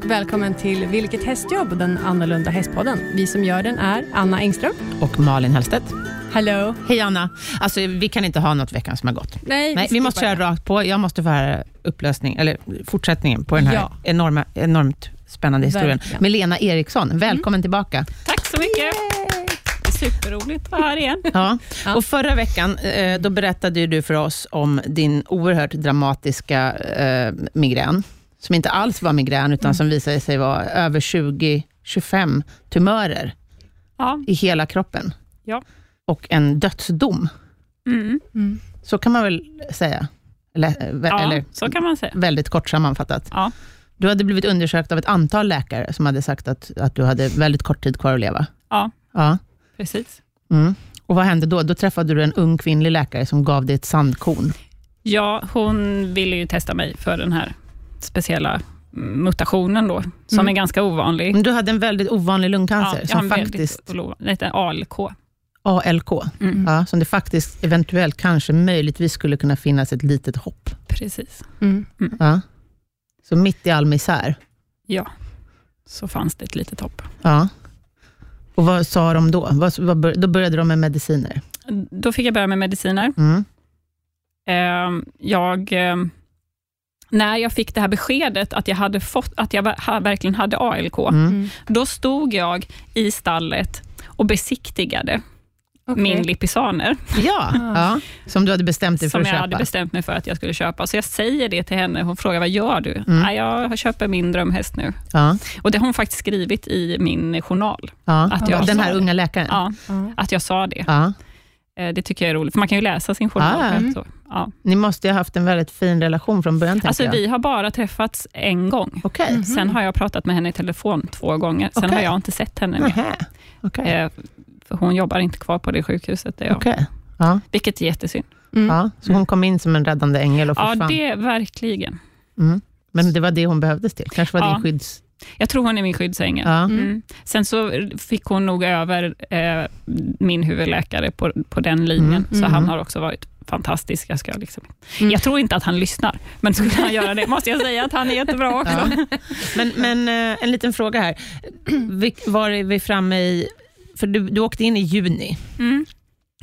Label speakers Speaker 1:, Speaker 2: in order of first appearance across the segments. Speaker 1: välkommen till Vilket hästjobb, den annorlunda hästpodden. Vi som gör den är Anna Engström.
Speaker 2: Och Malin Hellstedt.
Speaker 1: Hello.
Speaker 2: Hej Anna. Alltså, vi kan inte ha något veckan som har gått.
Speaker 1: Nej,
Speaker 2: Nej, vi måste
Speaker 1: skippar
Speaker 2: köra
Speaker 1: det.
Speaker 2: rakt på. Jag måste få höra upplösning, eller fortsättningen på den här
Speaker 1: Ja.
Speaker 2: enorma, enormt spännande historien.
Speaker 1: Verkligen. Mm.
Speaker 2: Med Lena Eriksson. Välkommen tillbaka.
Speaker 3: Tack så mycket. Det är superroligt att vara här igen.
Speaker 2: Ja.
Speaker 1: Ja.
Speaker 2: Och förra veckan eh, då berättade ju du för oss om din oerhört dramatiska eh, migrän, som inte alls var migrän,
Speaker 1: Mm.
Speaker 2: utan som visade sig vara över 20-25 tumörer
Speaker 3: Ja.
Speaker 2: i hela kroppen.
Speaker 3: Ja.
Speaker 2: Och en dödsdom.
Speaker 3: Mm.
Speaker 1: Mm.
Speaker 2: Så kan man väl säga? Eller, eh, vä-
Speaker 3: ja,
Speaker 2: eller
Speaker 3: så kan man säga.
Speaker 2: väldigt kort sammanfattat.
Speaker 3: Ja.
Speaker 2: Du hade blivit undersökt av ett antal läkare som hade sagt att, att du hade väldigt kort tid kvar att leva.
Speaker 3: Ja,
Speaker 2: Ja.
Speaker 3: precis.
Speaker 2: Mm. Och vad hände då? Då träffade du en ung kvinnlig läkare som gav dig ett sandkorn.
Speaker 3: Ja, hon ville ju testa mig för den här speciella mm, mutationen då, som
Speaker 2: Mm.
Speaker 3: är ganska ovanlig.
Speaker 2: Men Du hade en väldigt ovanlig lungcancer,
Speaker 3: jag har
Speaker 2: som
Speaker 3: en
Speaker 2: faktiskt,
Speaker 3: väldigt olo- lite ALK.
Speaker 2: ALK,
Speaker 3: Mm.
Speaker 2: ja, som det faktiskt eventuellt, kanske, möjligtvis skulle kunna finnas ett litet hopp.
Speaker 3: Precis.
Speaker 1: Mm.
Speaker 2: Ja. Så mitt i all misär.
Speaker 3: Ja, så fanns det ett litet hopp.
Speaker 2: Ja. Och vad sa de då? Vad, vad, bör- då började de med mediciner.
Speaker 3: Då fick jag börja med mediciner.
Speaker 2: Mm.
Speaker 3: Ehm, jag, ehm, när jag fick det här beskedet att jag, hade fått, att jag ver- ha- verkligen hade ALK,
Speaker 2: Mm.
Speaker 1: Mm.
Speaker 3: då stod jag i stallet och besiktigade
Speaker 1: Mm. Okej.
Speaker 3: min lipisaner,
Speaker 2: Ja, ja, som du hade bestämt dig för
Speaker 3: som
Speaker 2: att
Speaker 3: jag
Speaker 2: köpa.
Speaker 3: hade bestämt mig för att jag skulle köpa. Så jag säger det till henne, hon frågar vad gör du?
Speaker 2: Mm.
Speaker 3: Nej, jag köper min drömhäst nu.
Speaker 2: Ja,
Speaker 3: Och det har hon faktiskt skrivit i min journal,
Speaker 2: ja.
Speaker 3: Att
Speaker 1: jag
Speaker 2: Den
Speaker 3: sa
Speaker 2: här
Speaker 3: det.
Speaker 2: unga läkaren.
Speaker 3: ja,
Speaker 1: Ja.
Speaker 3: att jag sa det.
Speaker 2: Ja.
Speaker 3: Eh, Det tycker jag är roligt, för man kan ju läsa sin journal
Speaker 2: Ah.
Speaker 3: själv. Så. Ja.
Speaker 2: Ni måste ju ha haft en väldigt fin relation från början, tänker
Speaker 3: Alltså,
Speaker 2: jag.
Speaker 3: vi Mm. har bara träffats en gång.
Speaker 2: Okej.
Speaker 3: Sen har jag pratat med henne i telefon två gånger. Sen
Speaker 2: Okej.
Speaker 3: har jag inte sett henne mer.
Speaker 2: Nähä. Okej.
Speaker 3: Eh, För hon jobbar inte kvar på det sjukhuset där jag,
Speaker 2: Okej. Ja.
Speaker 3: vilket är jättesynd.
Speaker 1: Mm.
Speaker 2: Ja. Så hon kom in som en räddande ängel och
Speaker 3: Ja,
Speaker 2: försvann.
Speaker 3: det verkligen.
Speaker 2: Mm. Men det var det hon behövdes till. Kanske var
Speaker 3: Ja.
Speaker 2: din skydds...
Speaker 3: Jag tror hon är min skyddsängel.
Speaker 2: Ja.
Speaker 1: Mm.
Speaker 3: Mm. Sen så fick hon nog över eh, min huvudläkare på, på den linjen,
Speaker 2: Mm,
Speaker 3: så
Speaker 1: mm.
Speaker 3: han har också varit fantastisk. Jag, ska liksom.
Speaker 1: Mm.
Speaker 3: jag tror inte att han lyssnar, men skulle han göra det måste jag säga att han är jättebra också.
Speaker 2: Ja.
Speaker 1: Mm.
Speaker 2: Men, men eh, en liten fråga här. Vil- Var är vi framme i... För du, du åkte in i juni
Speaker 3: Mm.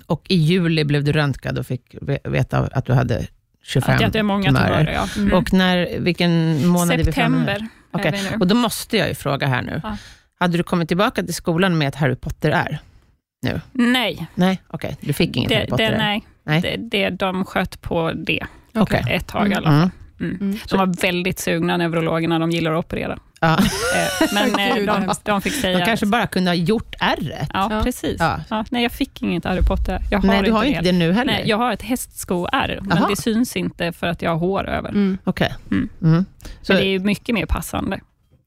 Speaker 2: och i juli blev du röntgad och fick ve- veta att du hade 25
Speaker 3: Att, att det är många tumörer. Ja. Mm.
Speaker 2: Och när, vilken månad är vi framme i?
Speaker 3: September
Speaker 2: Okej,
Speaker 3: är vi nu.
Speaker 2: Och då måste jag ju fråga här nu.
Speaker 3: Ja.
Speaker 2: Hade du kommit tillbaka till skolan med ett Harry Potter är?
Speaker 3: Nej,
Speaker 2: Nej, okej. Du fick inget
Speaker 3: det,
Speaker 2: Harry
Speaker 3: det,
Speaker 2: Potter är.
Speaker 3: nej.
Speaker 2: Nej.
Speaker 3: Det, det, de sköt på det
Speaker 2: Okej.
Speaker 3: ett tag i alla fall.
Speaker 2: Mm.
Speaker 3: De var väldigt sugna, neurologerna. De gillar att operera.
Speaker 2: Ja.
Speaker 3: Eh, Men eh,
Speaker 1: Gud, vad
Speaker 3: de,
Speaker 1: hemskt.
Speaker 3: de fick säga...
Speaker 2: De kanske bara kunde ha gjort r
Speaker 3: Ja,
Speaker 1: Ja.
Speaker 3: precis.
Speaker 2: Ja.
Speaker 3: Ja, nej, jag fick inget Harry Potter. Jag har
Speaker 2: Nej, du har ju
Speaker 3: inte
Speaker 2: inte det nu heller.
Speaker 3: Nej, jag har ett hästsko-ärr, men
Speaker 2: Aha.
Speaker 3: det syns inte för att jag har hår över.
Speaker 1: Mm.
Speaker 2: Okej.
Speaker 3: Mm.
Speaker 2: Mm. Så,
Speaker 3: Men det är ju mycket mer passande.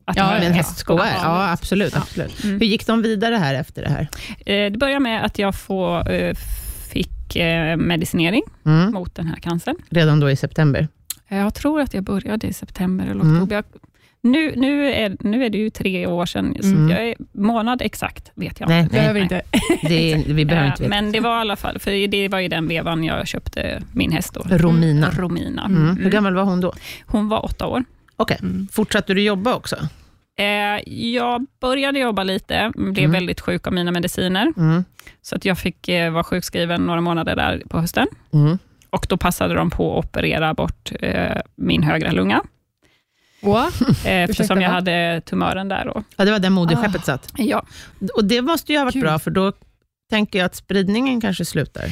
Speaker 3: Att
Speaker 1: Ja,
Speaker 3: ha
Speaker 2: med en
Speaker 3: ett
Speaker 2: hästsko är.
Speaker 3: hästsko.
Speaker 2: Ja, absolut. absolut.
Speaker 3: Mm.
Speaker 2: Hur gick de vidare här efter det här?
Speaker 3: Eh, Det börjar med att jag får, eh, fick eh, medicinering
Speaker 2: Mm.
Speaker 3: mot den här cancern.
Speaker 2: Redan då i september?
Speaker 3: Eh, Jag tror att jag började i september eller
Speaker 2: Mm.
Speaker 3: oktober. Jag, nu, nu, är, nu är det ju tre år sedan, så
Speaker 2: Mm.
Speaker 3: jag är, månad exakt vet jag
Speaker 2: Nej,
Speaker 3: inte.
Speaker 1: Behöver
Speaker 3: nej.
Speaker 1: inte.
Speaker 2: Det är, vi behöver
Speaker 3: Eh,
Speaker 2: inte veta.
Speaker 3: Men det var i alla fall, för det var i den vevan jag köpte min häst då.
Speaker 2: Romina.
Speaker 3: Romina.
Speaker 2: Mm. Hur
Speaker 3: Mm.
Speaker 2: gammal var hon då?
Speaker 3: Hon var åtta år.
Speaker 2: Okej.
Speaker 1: Mm.
Speaker 2: Fortsatte du jobba också?
Speaker 3: Eh, jag började jobba lite, blev
Speaker 2: Mm.
Speaker 3: väldigt sjuk av mina mediciner,
Speaker 2: Mm.
Speaker 3: så att jag fick eh, vara sjukskriven några månader där på hösten.
Speaker 2: Mm.
Speaker 3: Och Då passade de på att operera bort eh, min högra lunga,
Speaker 1: What?
Speaker 3: eh, eftersom jag
Speaker 1: va?
Speaker 3: hade tumören där. Då.
Speaker 2: Ja, det var där moderskeppet satt.
Speaker 3: Ja.
Speaker 2: Och det måste ju ha varit
Speaker 1: Ah. Kul.
Speaker 2: bra, för då tänker jag att spridningen kanske slutar.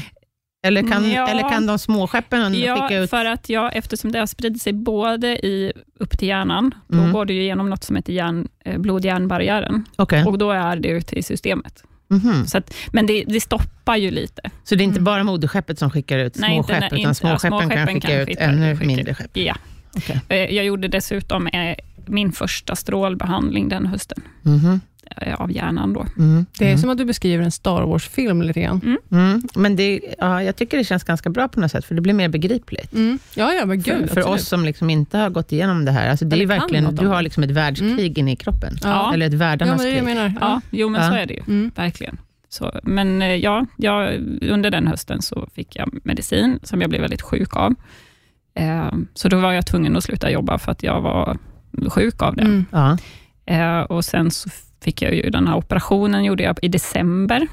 Speaker 2: Eller kan,
Speaker 3: Ja.
Speaker 2: eller kan de små skeppen skicka
Speaker 3: Ja,
Speaker 2: ut...
Speaker 3: för att jag, eftersom det har spridit sig både i, upp till hjärnan, då
Speaker 2: Mm.
Speaker 3: går det ju igenom något som heter hjärn, eh, blod-hjärnbarriären,
Speaker 2: Okej.
Speaker 3: och då är det ute i systemet.
Speaker 2: Mhm.
Speaker 3: Så att, men det, det stoppar ju lite.
Speaker 2: Så det är inte
Speaker 1: Mm.
Speaker 2: bara moderskeppet som skickar ut
Speaker 3: Nej,
Speaker 2: små
Speaker 3: inte-
Speaker 2: skepp,
Speaker 3: nej,
Speaker 2: utan
Speaker 3: inte- ja,
Speaker 2: småskeppen kan
Speaker 3: småskeppen
Speaker 2: skicka
Speaker 3: kan
Speaker 2: ut
Speaker 3: skicka-
Speaker 2: ännu
Speaker 3: skicka-
Speaker 2: mindre skepp.
Speaker 3: Ja.
Speaker 2: Okej.
Speaker 3: Eh, Jag gjorde dessutom eh, min första strålbehandling den hösten
Speaker 2: Mhm.
Speaker 3: eh, av hjärnan. Då.
Speaker 2: Mm.
Speaker 1: Det är
Speaker 2: Mm.
Speaker 1: som att du beskriver en Star Wars-film lite grann.
Speaker 2: Mm. Men det, ja, jag tycker det känns ganska bra på något sätt, för det blir mer begripligt.
Speaker 1: Mm. Ja, ja, men
Speaker 2: för
Speaker 1: gud.
Speaker 2: för
Speaker 1: absolut.
Speaker 2: oss som liksom inte har gått igenom det här, alltså det är
Speaker 1: Eller
Speaker 2: ju
Speaker 1: kan något
Speaker 2: verkligen,
Speaker 1: om
Speaker 2: du
Speaker 1: det. Mm.
Speaker 2: har liksom ett världskrig inne i kroppen.
Speaker 1: Ja.
Speaker 2: Eller ett
Speaker 1: Ja, men
Speaker 2: värdarnas
Speaker 1: det är det jag
Speaker 2: krig.
Speaker 1: menar.
Speaker 3: Ja, jo, men
Speaker 2: Ja.
Speaker 3: så är det ju.
Speaker 1: Mm.
Speaker 3: Verkligen. Så, men eh, ja, jag, under den hösten så fick jag medicin som jag blev väldigt sjuk av. Eh, Så då var jag tvungen att sluta jobba för att jag var sjuk av det.
Speaker 1: Mm.
Speaker 2: Ja.
Speaker 3: Eh, och sen så fick jag ju den här operationen, gjorde jag i december.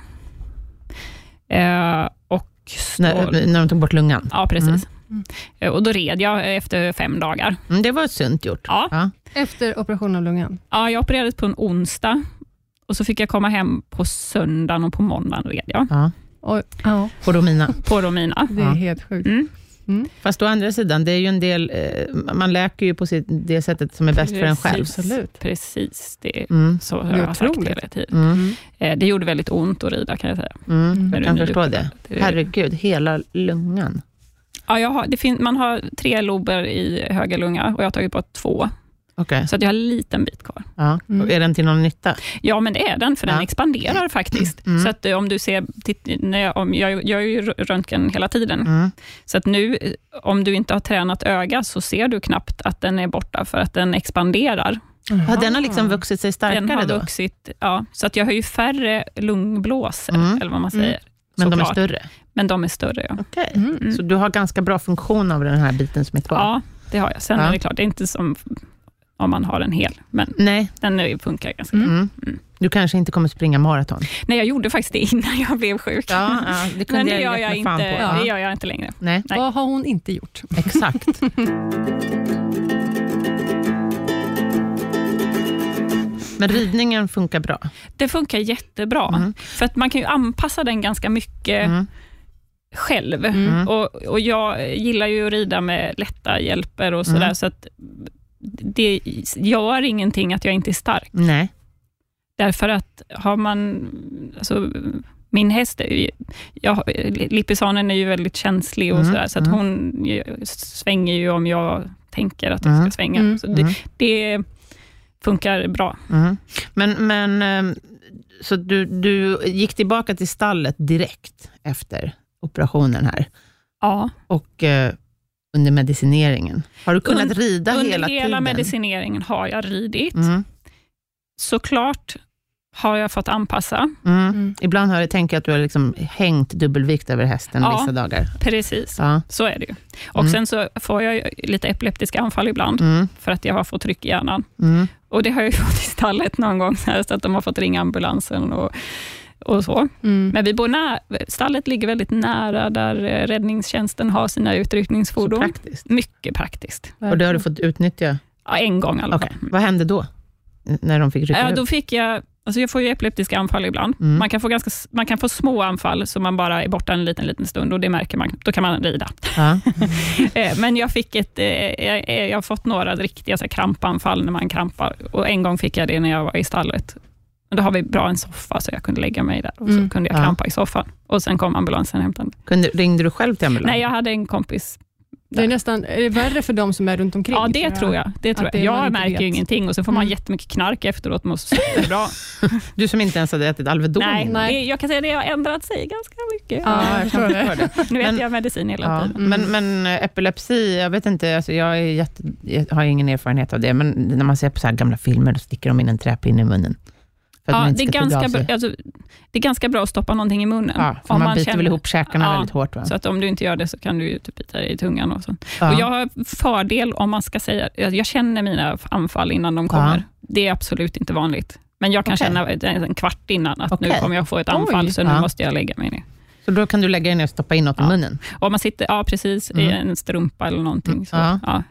Speaker 3: Eh, och så,
Speaker 2: När, när de tog bort lungan.
Speaker 3: Ja, precis.
Speaker 2: Mm.
Speaker 1: Mm.
Speaker 3: Eh, Och då red jag efter fem dagar.
Speaker 2: Mm, det var sunt gjort.
Speaker 3: Ja.
Speaker 1: Efter operationen av lungan.
Speaker 3: Ja, jag opererades på en onsdag och så fick jag komma hem på söndagen och på måndagen red jag
Speaker 2: Ja.
Speaker 1: Oj, ja,
Speaker 2: På Romina.
Speaker 3: på Romina.
Speaker 1: det är
Speaker 2: Ja.
Speaker 1: helt sjukt.
Speaker 3: Mm.
Speaker 2: Fast å andra sidan, det är ju en del, eh, man läker ju på sitt, det sättet som är bäst för en själv.
Speaker 3: Precis.
Speaker 1: Absolut.
Speaker 3: Precis, det är
Speaker 2: Mm.
Speaker 3: så
Speaker 1: Det
Speaker 3: har
Speaker 1: är
Speaker 3: jag sagt
Speaker 1: otroligt.
Speaker 3: hela tiden.
Speaker 2: Mm.
Speaker 1: Mm.
Speaker 3: Eh, Det gjorde väldigt ont att rida kan jag säga.
Speaker 2: Mm.
Speaker 3: När
Speaker 2: Jag
Speaker 3: du
Speaker 2: kan
Speaker 3: är
Speaker 2: förstå det.
Speaker 3: nyopererad. Det-
Speaker 2: Herregud, hela lungan.
Speaker 3: Ja, jag har, det fin- man har tre lober i höger lunga och jag har tagit bort två,
Speaker 2: Okej.
Speaker 3: så att jag har en liten bit kvar.
Speaker 2: Ja.
Speaker 1: Mm.
Speaker 2: Är den till någon nytta?
Speaker 3: Ja, men det är den, för den
Speaker 2: Ja.
Speaker 3: expanderar faktiskt.
Speaker 2: Mm.
Speaker 3: Så att eh, om du ser, titt, när jag, om, jag gör ju r- röntgen hela tiden,
Speaker 2: Mm.
Speaker 3: Så att nu, eh, om du inte har tränat öga, så ser du knappt att den är borta, för att den expanderar.
Speaker 2: Ja, den har
Speaker 1: Ah.
Speaker 2: liksom vuxit sig starkare
Speaker 3: Ah. den har
Speaker 2: då,
Speaker 3: vuxit, ja, så att jag har ju färre lungblåsor,
Speaker 2: Mm.
Speaker 3: eller vad man
Speaker 1: Mm.
Speaker 3: säger.
Speaker 2: men de är
Speaker 3: såklart.
Speaker 2: större.
Speaker 3: Men de är större, ja.
Speaker 2: Okej.
Speaker 1: Mm.
Speaker 3: Mm.
Speaker 2: Så du har ganska bra funktion av den här biten som är kvar?
Speaker 3: Ja, det har jag. Sen
Speaker 2: Ja.
Speaker 3: är det klart, det är inte som om man har en hel, men
Speaker 2: Nej.
Speaker 3: den eh, funkar ganska
Speaker 1: Mm.
Speaker 3: bra.
Speaker 2: Mm.
Speaker 3: Mm.
Speaker 2: Du kanske inte kommer springa maraton?
Speaker 3: Nej, jag gjorde faktiskt det innan jag blev sjuk.
Speaker 2: Ja, ja det kunde
Speaker 3: Men det gör,
Speaker 2: jag,
Speaker 3: jag
Speaker 2: gett mig fan
Speaker 3: inte,
Speaker 2: på. Ja.
Speaker 3: det gör jag inte längre.
Speaker 2: Nej,
Speaker 3: Nej.
Speaker 1: Vad har hon inte gjort?
Speaker 2: exakt. Men ridningen funkar bra.
Speaker 3: Det funkar jättebra,
Speaker 2: Mm.
Speaker 3: för att man kan ju anpassa den ganska mycket
Speaker 2: Mm.
Speaker 3: själv.
Speaker 1: Mm.
Speaker 3: Och, och jag gillar ju att rida med lätta hjälper och sådär,
Speaker 2: Mm.
Speaker 3: så att det gör ingenting att jag inte är stark.
Speaker 2: Nej.
Speaker 3: Därför att har man... Alltså, min häst är ju... Jag, Lippisanen är ju väldigt känslig och
Speaker 2: Mm,
Speaker 3: sådär, så att
Speaker 2: mm.
Speaker 3: hon ju- svänger ju om jag tänker att jag
Speaker 2: Mm,
Speaker 3: ska svänga.
Speaker 1: mm,
Speaker 3: Så det,
Speaker 2: Mm.
Speaker 3: det funkar bra.
Speaker 2: Mm. Men, men ehm, så du, du gick tillbaka till stallet direkt efter operationen här
Speaker 3: Ja,
Speaker 2: och eh, under medicineringen. Har du kunnat
Speaker 3: Und-
Speaker 2: rida
Speaker 3: under
Speaker 2: hela
Speaker 3: hela,
Speaker 2: tiden?
Speaker 3: medicineringen har jag ridit.
Speaker 2: Mm.
Speaker 3: Såklart har jag fått anpassa,
Speaker 2: Mm.
Speaker 1: Mm.
Speaker 2: Ibland har jag tänkt att du har liksom hängt dubbelvikt över hästen
Speaker 3: Ja.
Speaker 2: vissa dagar.
Speaker 3: precis.
Speaker 2: Ja.
Speaker 3: Så är det ju. Och
Speaker 2: Mm.
Speaker 3: Sen så får jag ju lite epileptiska anfall ibland,
Speaker 2: Mm.
Speaker 3: för att jag har fått tryck i hjärnan.
Speaker 2: Mm.
Speaker 3: Och Det har jag ju fått i stallet någon gång, så, här, så att de har fått ringa ambulansen och, och så.
Speaker 1: Mm.
Speaker 3: Men vi bor nära, stallet ligger väldigt nära där eh, räddningstjänsten har sina
Speaker 2: Så
Speaker 3: utryckningsfordon.
Speaker 2: praktiskt.
Speaker 3: Mycket praktiskt.
Speaker 2: Och det har du fått utnyttja.
Speaker 3: Ja, en gång i alla fall.
Speaker 2: Okej. Mm. Vad hände då? N- När de fick rycka
Speaker 3: Ja,
Speaker 2: ut?
Speaker 3: då fick jag, alltså jag får ju epileptiska anfall ibland.
Speaker 2: Mm.
Speaker 3: Man, kan få ganska, s- man kan få små anfall, så man bara är borta en liten, liten stund och det märker man. Då kan man rida.
Speaker 2: Ja.
Speaker 3: Eh, Men jag, fick ett, eh, jag, eh, jag har fått några riktiga så här, krampanfall när man krampar. Och en gång fick jag det när jag var i stallet. Men Då har vi bra en soffa, så jag kunde lägga mig där och så
Speaker 1: Mm.
Speaker 3: kunde jag
Speaker 2: Ja.
Speaker 3: krampa i soffan. Och Sen kom ambulansen och hämtade mig.
Speaker 2: Kunde, ringde du själv till ambulansen?
Speaker 3: Nej, jag hade en kompis.
Speaker 1: Det är nästan är det värre för de som är runt omkring.
Speaker 3: Ja, det tror jag. Det tror
Speaker 1: Att det
Speaker 3: jag.
Speaker 1: man
Speaker 3: jag
Speaker 1: inte
Speaker 3: märker ju
Speaker 1: vet.
Speaker 3: ingenting och så får man
Speaker 1: Mm.
Speaker 3: jättemycket knark efteråt. Man mår bra.
Speaker 2: Du som inte ens hade ätit Alvedon
Speaker 3: Nej,
Speaker 2: innan.
Speaker 3: Det, jag kan säga det har ändrat sig ganska mycket.
Speaker 1: Ja, jag förstår det.
Speaker 3: Nu äter
Speaker 2: Men-
Speaker 3: jag medicin hela
Speaker 2: Ja,
Speaker 3: tiden.
Speaker 2: men, men eh, epilepsi, jag vet inte, alltså jag, är jätte, jag har ingen erfarenhet av det, men när man ser på så här gamla filmer, då sticker de in en träpinne i munnen. För att man
Speaker 3: Ja,
Speaker 2: inte
Speaker 3: det, är
Speaker 2: ska suga av
Speaker 3: ganska,
Speaker 2: sig.
Speaker 3: bra- alltså, det är ganska bra att stoppa någonting i munnen.
Speaker 2: Ja, för man, biter väl ihop käkarna
Speaker 3: Ja,
Speaker 2: väldigt hårt. Va?
Speaker 3: Så att om du inte gör det så kan du ju typ bita dig i tungan och sånt.
Speaker 2: ja.
Speaker 3: Och jag har fördel om man ska säga, jag jag känner mina anfall innan de kommer.
Speaker 2: Ja.
Speaker 3: Det är absolut inte vanligt. Men jag kan
Speaker 2: Okej.
Speaker 3: känna en en kvart innan att nu
Speaker 2: Okej.
Speaker 3: kommer jag få ett anfall, så nu
Speaker 2: Ja.
Speaker 3: måste jag lägga mig ner.
Speaker 2: så då kan du lägga dig ner och stoppa in något i
Speaker 3: Ja.
Speaker 2: munnen.
Speaker 3: Och om man sitter ja, precis i
Speaker 2: Mm.
Speaker 3: en strumpa eller någonting, så
Speaker 2: Ja.
Speaker 3: ja.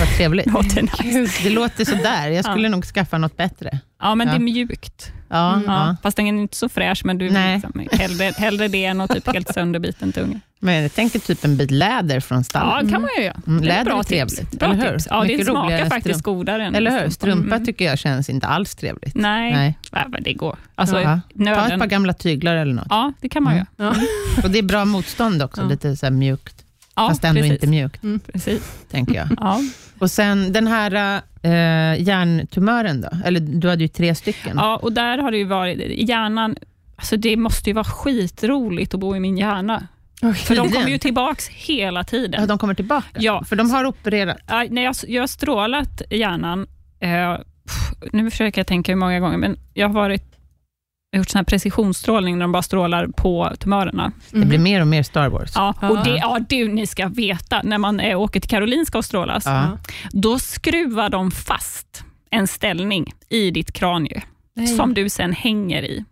Speaker 2: Vad trevligt.
Speaker 3: låter nice.
Speaker 2: Det låter sådär, jag
Speaker 3: Ja.
Speaker 2: skulle nog skaffa något bättre.
Speaker 3: Ja, men
Speaker 2: Ja.
Speaker 3: det är mjukt.
Speaker 2: Ja,
Speaker 1: Mm.
Speaker 2: ja.
Speaker 3: Ja. Fast den är inte så fräsch, men du
Speaker 2: Nej.
Speaker 3: liksom, hellre, hellre det än att typ helt sönderbiten tunga.
Speaker 2: Men jag tänker typ en bit läder från
Speaker 3: Ja,
Speaker 2: stallet.
Speaker 3: det kan man ju göra.
Speaker 2: Mm,
Speaker 3: Det är
Speaker 2: läder
Speaker 3: bra
Speaker 2: är
Speaker 3: tips.
Speaker 2: trevligt,
Speaker 3: Bra
Speaker 2: eller hur?
Speaker 3: tips. Ja, det
Speaker 2: Mycket roligare
Speaker 3: smakar
Speaker 2: än
Speaker 3: faktiskt godare än
Speaker 2: Eller hur? Strumpa
Speaker 3: Mm.
Speaker 2: tycker jag känns inte alls trevligt.
Speaker 3: Nej, Nej.
Speaker 2: Nej.
Speaker 3: men det går. Alltså,
Speaker 2: Ja. Ta ett
Speaker 3: nöden.
Speaker 2: par gamla tyglar eller något.
Speaker 3: Ja, det kan man
Speaker 2: Mm.
Speaker 3: göra.
Speaker 2: Och det är bra motstånd också,
Speaker 3: Ja.
Speaker 2: lite så här mjukt.
Speaker 3: Ja,
Speaker 2: fast ändå
Speaker 3: precis.
Speaker 2: inte mjukt,
Speaker 3: Precis.
Speaker 2: tänker jag.
Speaker 3: Ja.
Speaker 2: Och sen den här eh, hjärntumören då? Eller du hade ju tre stycken.
Speaker 3: ja, och där har det ju varit, hjärnan, alltså det måste ju vara skitroligt att bo i min hjärna. För de
Speaker 2: Tydligen.
Speaker 3: kommer ju tillbaks hela
Speaker 2: Ja,
Speaker 3: tiden.
Speaker 2: de kommer tillbaka?
Speaker 3: Ja.
Speaker 2: För de har opererat?
Speaker 3: Ja, när jag, jag har strålat hjärnan, eh, pff, nu försöker jag tänka hur många gånger, men jag har varit har gjort sån här precisionsstrålning där de bara strålar på tumörerna.
Speaker 2: Det
Speaker 1: Mm.
Speaker 2: blir mer och mer Star Wars.
Speaker 3: Mm. Ja,
Speaker 1: Ja.
Speaker 3: och det, ja, du, ni ska veta, när man eh, åker till Karolinska och strålas,
Speaker 2: Ja.
Speaker 3: då skruvar de fast en ställning i ditt kranie som du sen hänger i.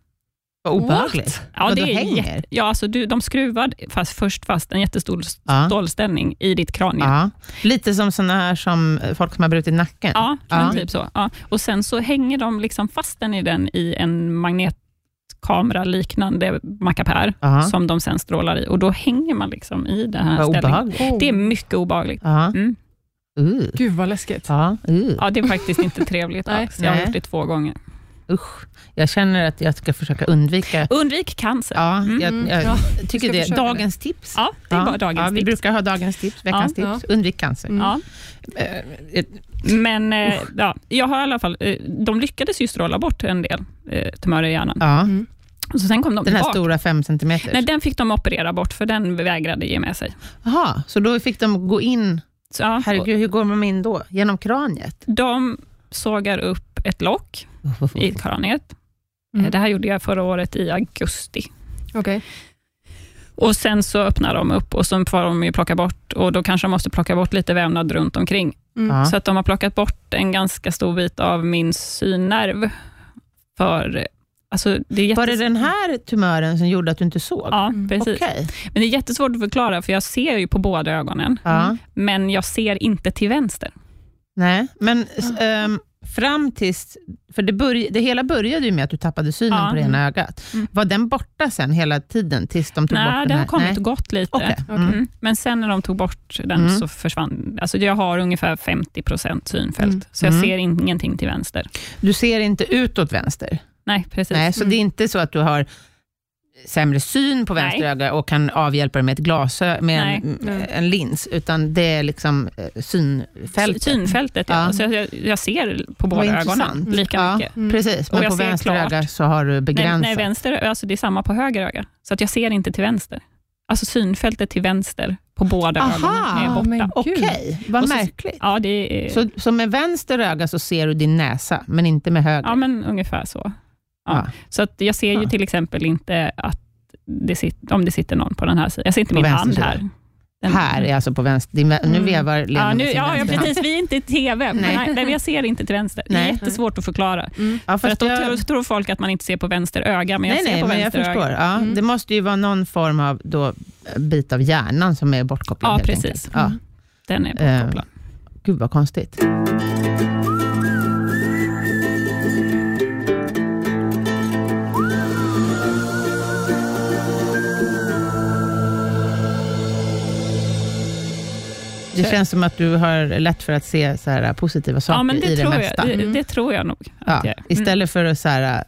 Speaker 2: Vad obehagligt.
Speaker 3: Ja,
Speaker 2: Vadå,
Speaker 3: det är
Speaker 2: hänger?
Speaker 3: jätte, ja, alltså du, de skruvar fast, först fast en jättestor
Speaker 2: Ja.
Speaker 3: stålställning i ditt kranie.
Speaker 2: Ja. Lite som såna här som eh, folk som har brutit nacken.
Speaker 3: Ja, men
Speaker 2: Ja.
Speaker 3: typ så. Ja. Och sen så hänger de liksom fast den i den i en magnetkamera liknande mackapär
Speaker 2: Ja.
Speaker 3: som de sen strålar i och då hänger man liksom i den här
Speaker 2: Vad
Speaker 3: ställningen.
Speaker 2: obehagligt.
Speaker 1: Oh.
Speaker 3: Det är mycket obehagligt.
Speaker 2: Ja.
Speaker 3: Mm.
Speaker 2: Uh.
Speaker 1: Gud vad läskigt.
Speaker 2: Ja. Uh.
Speaker 3: Ja, det är faktiskt inte trevligt
Speaker 1: Nej.
Speaker 3: alls. Jag har
Speaker 2: Nej.
Speaker 3: gjort det två gånger.
Speaker 2: Usch. Jag känner att jag ska försöka undvika
Speaker 3: Undvik cancer.
Speaker 2: Ja,
Speaker 1: Mm.
Speaker 2: jag, jag
Speaker 1: Ja, vi ska
Speaker 2: tycker det.
Speaker 1: försöka
Speaker 2: Dagens tips.
Speaker 3: Ja, det var dagens
Speaker 2: ja, Vi
Speaker 3: tips.
Speaker 2: brukar ha dagens tips, veckans
Speaker 1: Ja,
Speaker 2: tips. Undvik cancer.
Speaker 1: Mm.
Speaker 3: Ja.
Speaker 2: Eh, eh,
Speaker 3: Men eh, ja, jag har i alla fall, eh, de lyckades ju stråla bort en del eh, tumörer i hjärnan.
Speaker 2: Ja,
Speaker 1: Mm.
Speaker 3: Och så sen kom de
Speaker 2: den här
Speaker 3: tillbaka.
Speaker 2: stora fem
Speaker 3: Nej,
Speaker 2: centimeter.
Speaker 3: den fick de operera bort, för den vägrade ge med sig.
Speaker 2: Jaha, så då fick de gå in.
Speaker 3: Så, ja, och
Speaker 2: Herregud, hur går man in då? Genom kraniet?
Speaker 3: de sågar upp ett lock i
Speaker 2: Mm.
Speaker 3: kraniet.
Speaker 1: Mm.
Speaker 3: Det här gjorde jag förra året i augusti.
Speaker 1: Okej.
Speaker 3: Och Sen så öppnar de upp och så får de ju plocka bort och då kanske de måste plocka bort lite vävnad runt omkring.
Speaker 1: Mm.
Speaker 2: Ja.
Speaker 3: Så att de har plockat bort en ganska stor bit av min synnerv. För, alltså, det är jättes-
Speaker 2: Var det den här tumören som gjorde att du inte såg?
Speaker 3: Ja,
Speaker 1: Mm.
Speaker 3: precis.
Speaker 2: Okej.
Speaker 3: Men det är jättesvårt att förklara, för jag ser ju på båda ögonen,
Speaker 2: Ja.
Speaker 1: Mm.
Speaker 3: men jag ser inte till vänster.
Speaker 2: Nej, men s-
Speaker 3: Ah.
Speaker 2: ehm, fram tills... För det, börj, det hela började ju med att du tappade synen
Speaker 3: Ja.
Speaker 2: på det ena ögat.
Speaker 3: Mm.
Speaker 2: Var den borta sen hela tiden tills de tog bort
Speaker 3: Nej,
Speaker 2: den
Speaker 3: det
Speaker 2: här?
Speaker 3: har kommit
Speaker 2: Nej.
Speaker 3: och gått lite.
Speaker 2: Okej.
Speaker 1: Okej.
Speaker 2: Mm.
Speaker 3: Mm. Men sen när de tog bort den
Speaker 2: Mm.
Speaker 3: så försvann... Alltså jag har ungefär 50 synfält,
Speaker 1: Mm.
Speaker 3: så jag
Speaker 2: Mm.
Speaker 3: ser ingenting till vänster.
Speaker 2: Du ser inte utåt vänster?
Speaker 3: Nej, precis.
Speaker 2: Nej, så
Speaker 1: Mm.
Speaker 2: det är inte så att du har sämre syn på
Speaker 3: Nej. Mm.
Speaker 2: vänster öga och kan avhjälpa det med, ett glasö- med en,
Speaker 1: Nej.
Speaker 2: en lins, utan det är liksom eh, synfältet.
Speaker 3: Synfältet, ja.
Speaker 2: Ja.
Speaker 3: Så jag, jag ser på
Speaker 2: Vad
Speaker 3: båda ögonen
Speaker 2: intressant.
Speaker 3: lika
Speaker 2: ja,
Speaker 3: mycket.
Speaker 1: Mm.
Speaker 2: Precis,
Speaker 3: Och
Speaker 2: men
Speaker 3: jag
Speaker 2: på
Speaker 3: ser
Speaker 2: vänster
Speaker 3: klart.
Speaker 2: öga så har du
Speaker 3: Nej,
Speaker 2: begränsat.
Speaker 3: nej, vänster, alltså det är samma på höger öga, så att jag ser inte till vänster. Alltså synfältet till vänster på båda
Speaker 2: Aha.
Speaker 3: ögonen är
Speaker 1: Ja,
Speaker 3: borta.
Speaker 1: men
Speaker 2: Okej,
Speaker 1: gud.
Speaker 2: vad
Speaker 3: Och så-
Speaker 2: märkligt.
Speaker 3: Ja, det är,
Speaker 2: Så, så med vänster öga så ser du din näsa, men inte med höger?
Speaker 3: ja, men ungefär så. ja.
Speaker 2: Ja.
Speaker 3: Så att jag ser ju
Speaker 2: Ja.
Speaker 3: till exempel inte att det sit, om det sitter någon på den här sidan. Jag ser inte
Speaker 2: På
Speaker 3: min hand
Speaker 2: vänster
Speaker 3: här. Den-
Speaker 2: Här är alltså på vänster. Din, vä- Nu
Speaker 1: Mm.
Speaker 2: vevar Lena
Speaker 3: Ja,
Speaker 2: med
Speaker 3: nu,
Speaker 2: sin
Speaker 3: ja, ja,
Speaker 2: vänster hand.
Speaker 3: precis. Vi är inte i TV, men
Speaker 2: Nej.
Speaker 3: nej, nej, jag ser inte till vänster. Det är
Speaker 2: Nej.
Speaker 3: jättesvårt att förklara.
Speaker 1: Mm.
Speaker 2: Ja,
Speaker 3: För
Speaker 2: fast
Speaker 3: att då
Speaker 2: jag-
Speaker 3: tror- tror folk att man inte ser på vänster öga, men jag
Speaker 2: nej,
Speaker 3: ser
Speaker 2: nej,
Speaker 3: på
Speaker 2: men jag
Speaker 3: vänster
Speaker 2: förstår.
Speaker 3: öga.
Speaker 2: Ja,
Speaker 1: Mm.
Speaker 2: Det måste ju vara någon form av då, bit av hjärnan som är bortkopplad.
Speaker 3: Ja,
Speaker 2: helt
Speaker 3: precis. Mm.
Speaker 2: enkelt. Ja.
Speaker 3: Den är
Speaker 2: Eh,
Speaker 3: bortkopplad.
Speaker 2: Gud vad konstigt. Det känns som att du har lätt för att se så här positiva saker
Speaker 3: Ja, men det
Speaker 2: i det
Speaker 3: tror,
Speaker 2: mesta.
Speaker 3: jag, det,
Speaker 1: Mm.
Speaker 3: det tror jag nog.
Speaker 2: Ja,
Speaker 3: Att jag, mm.
Speaker 2: istället för att så här, äh,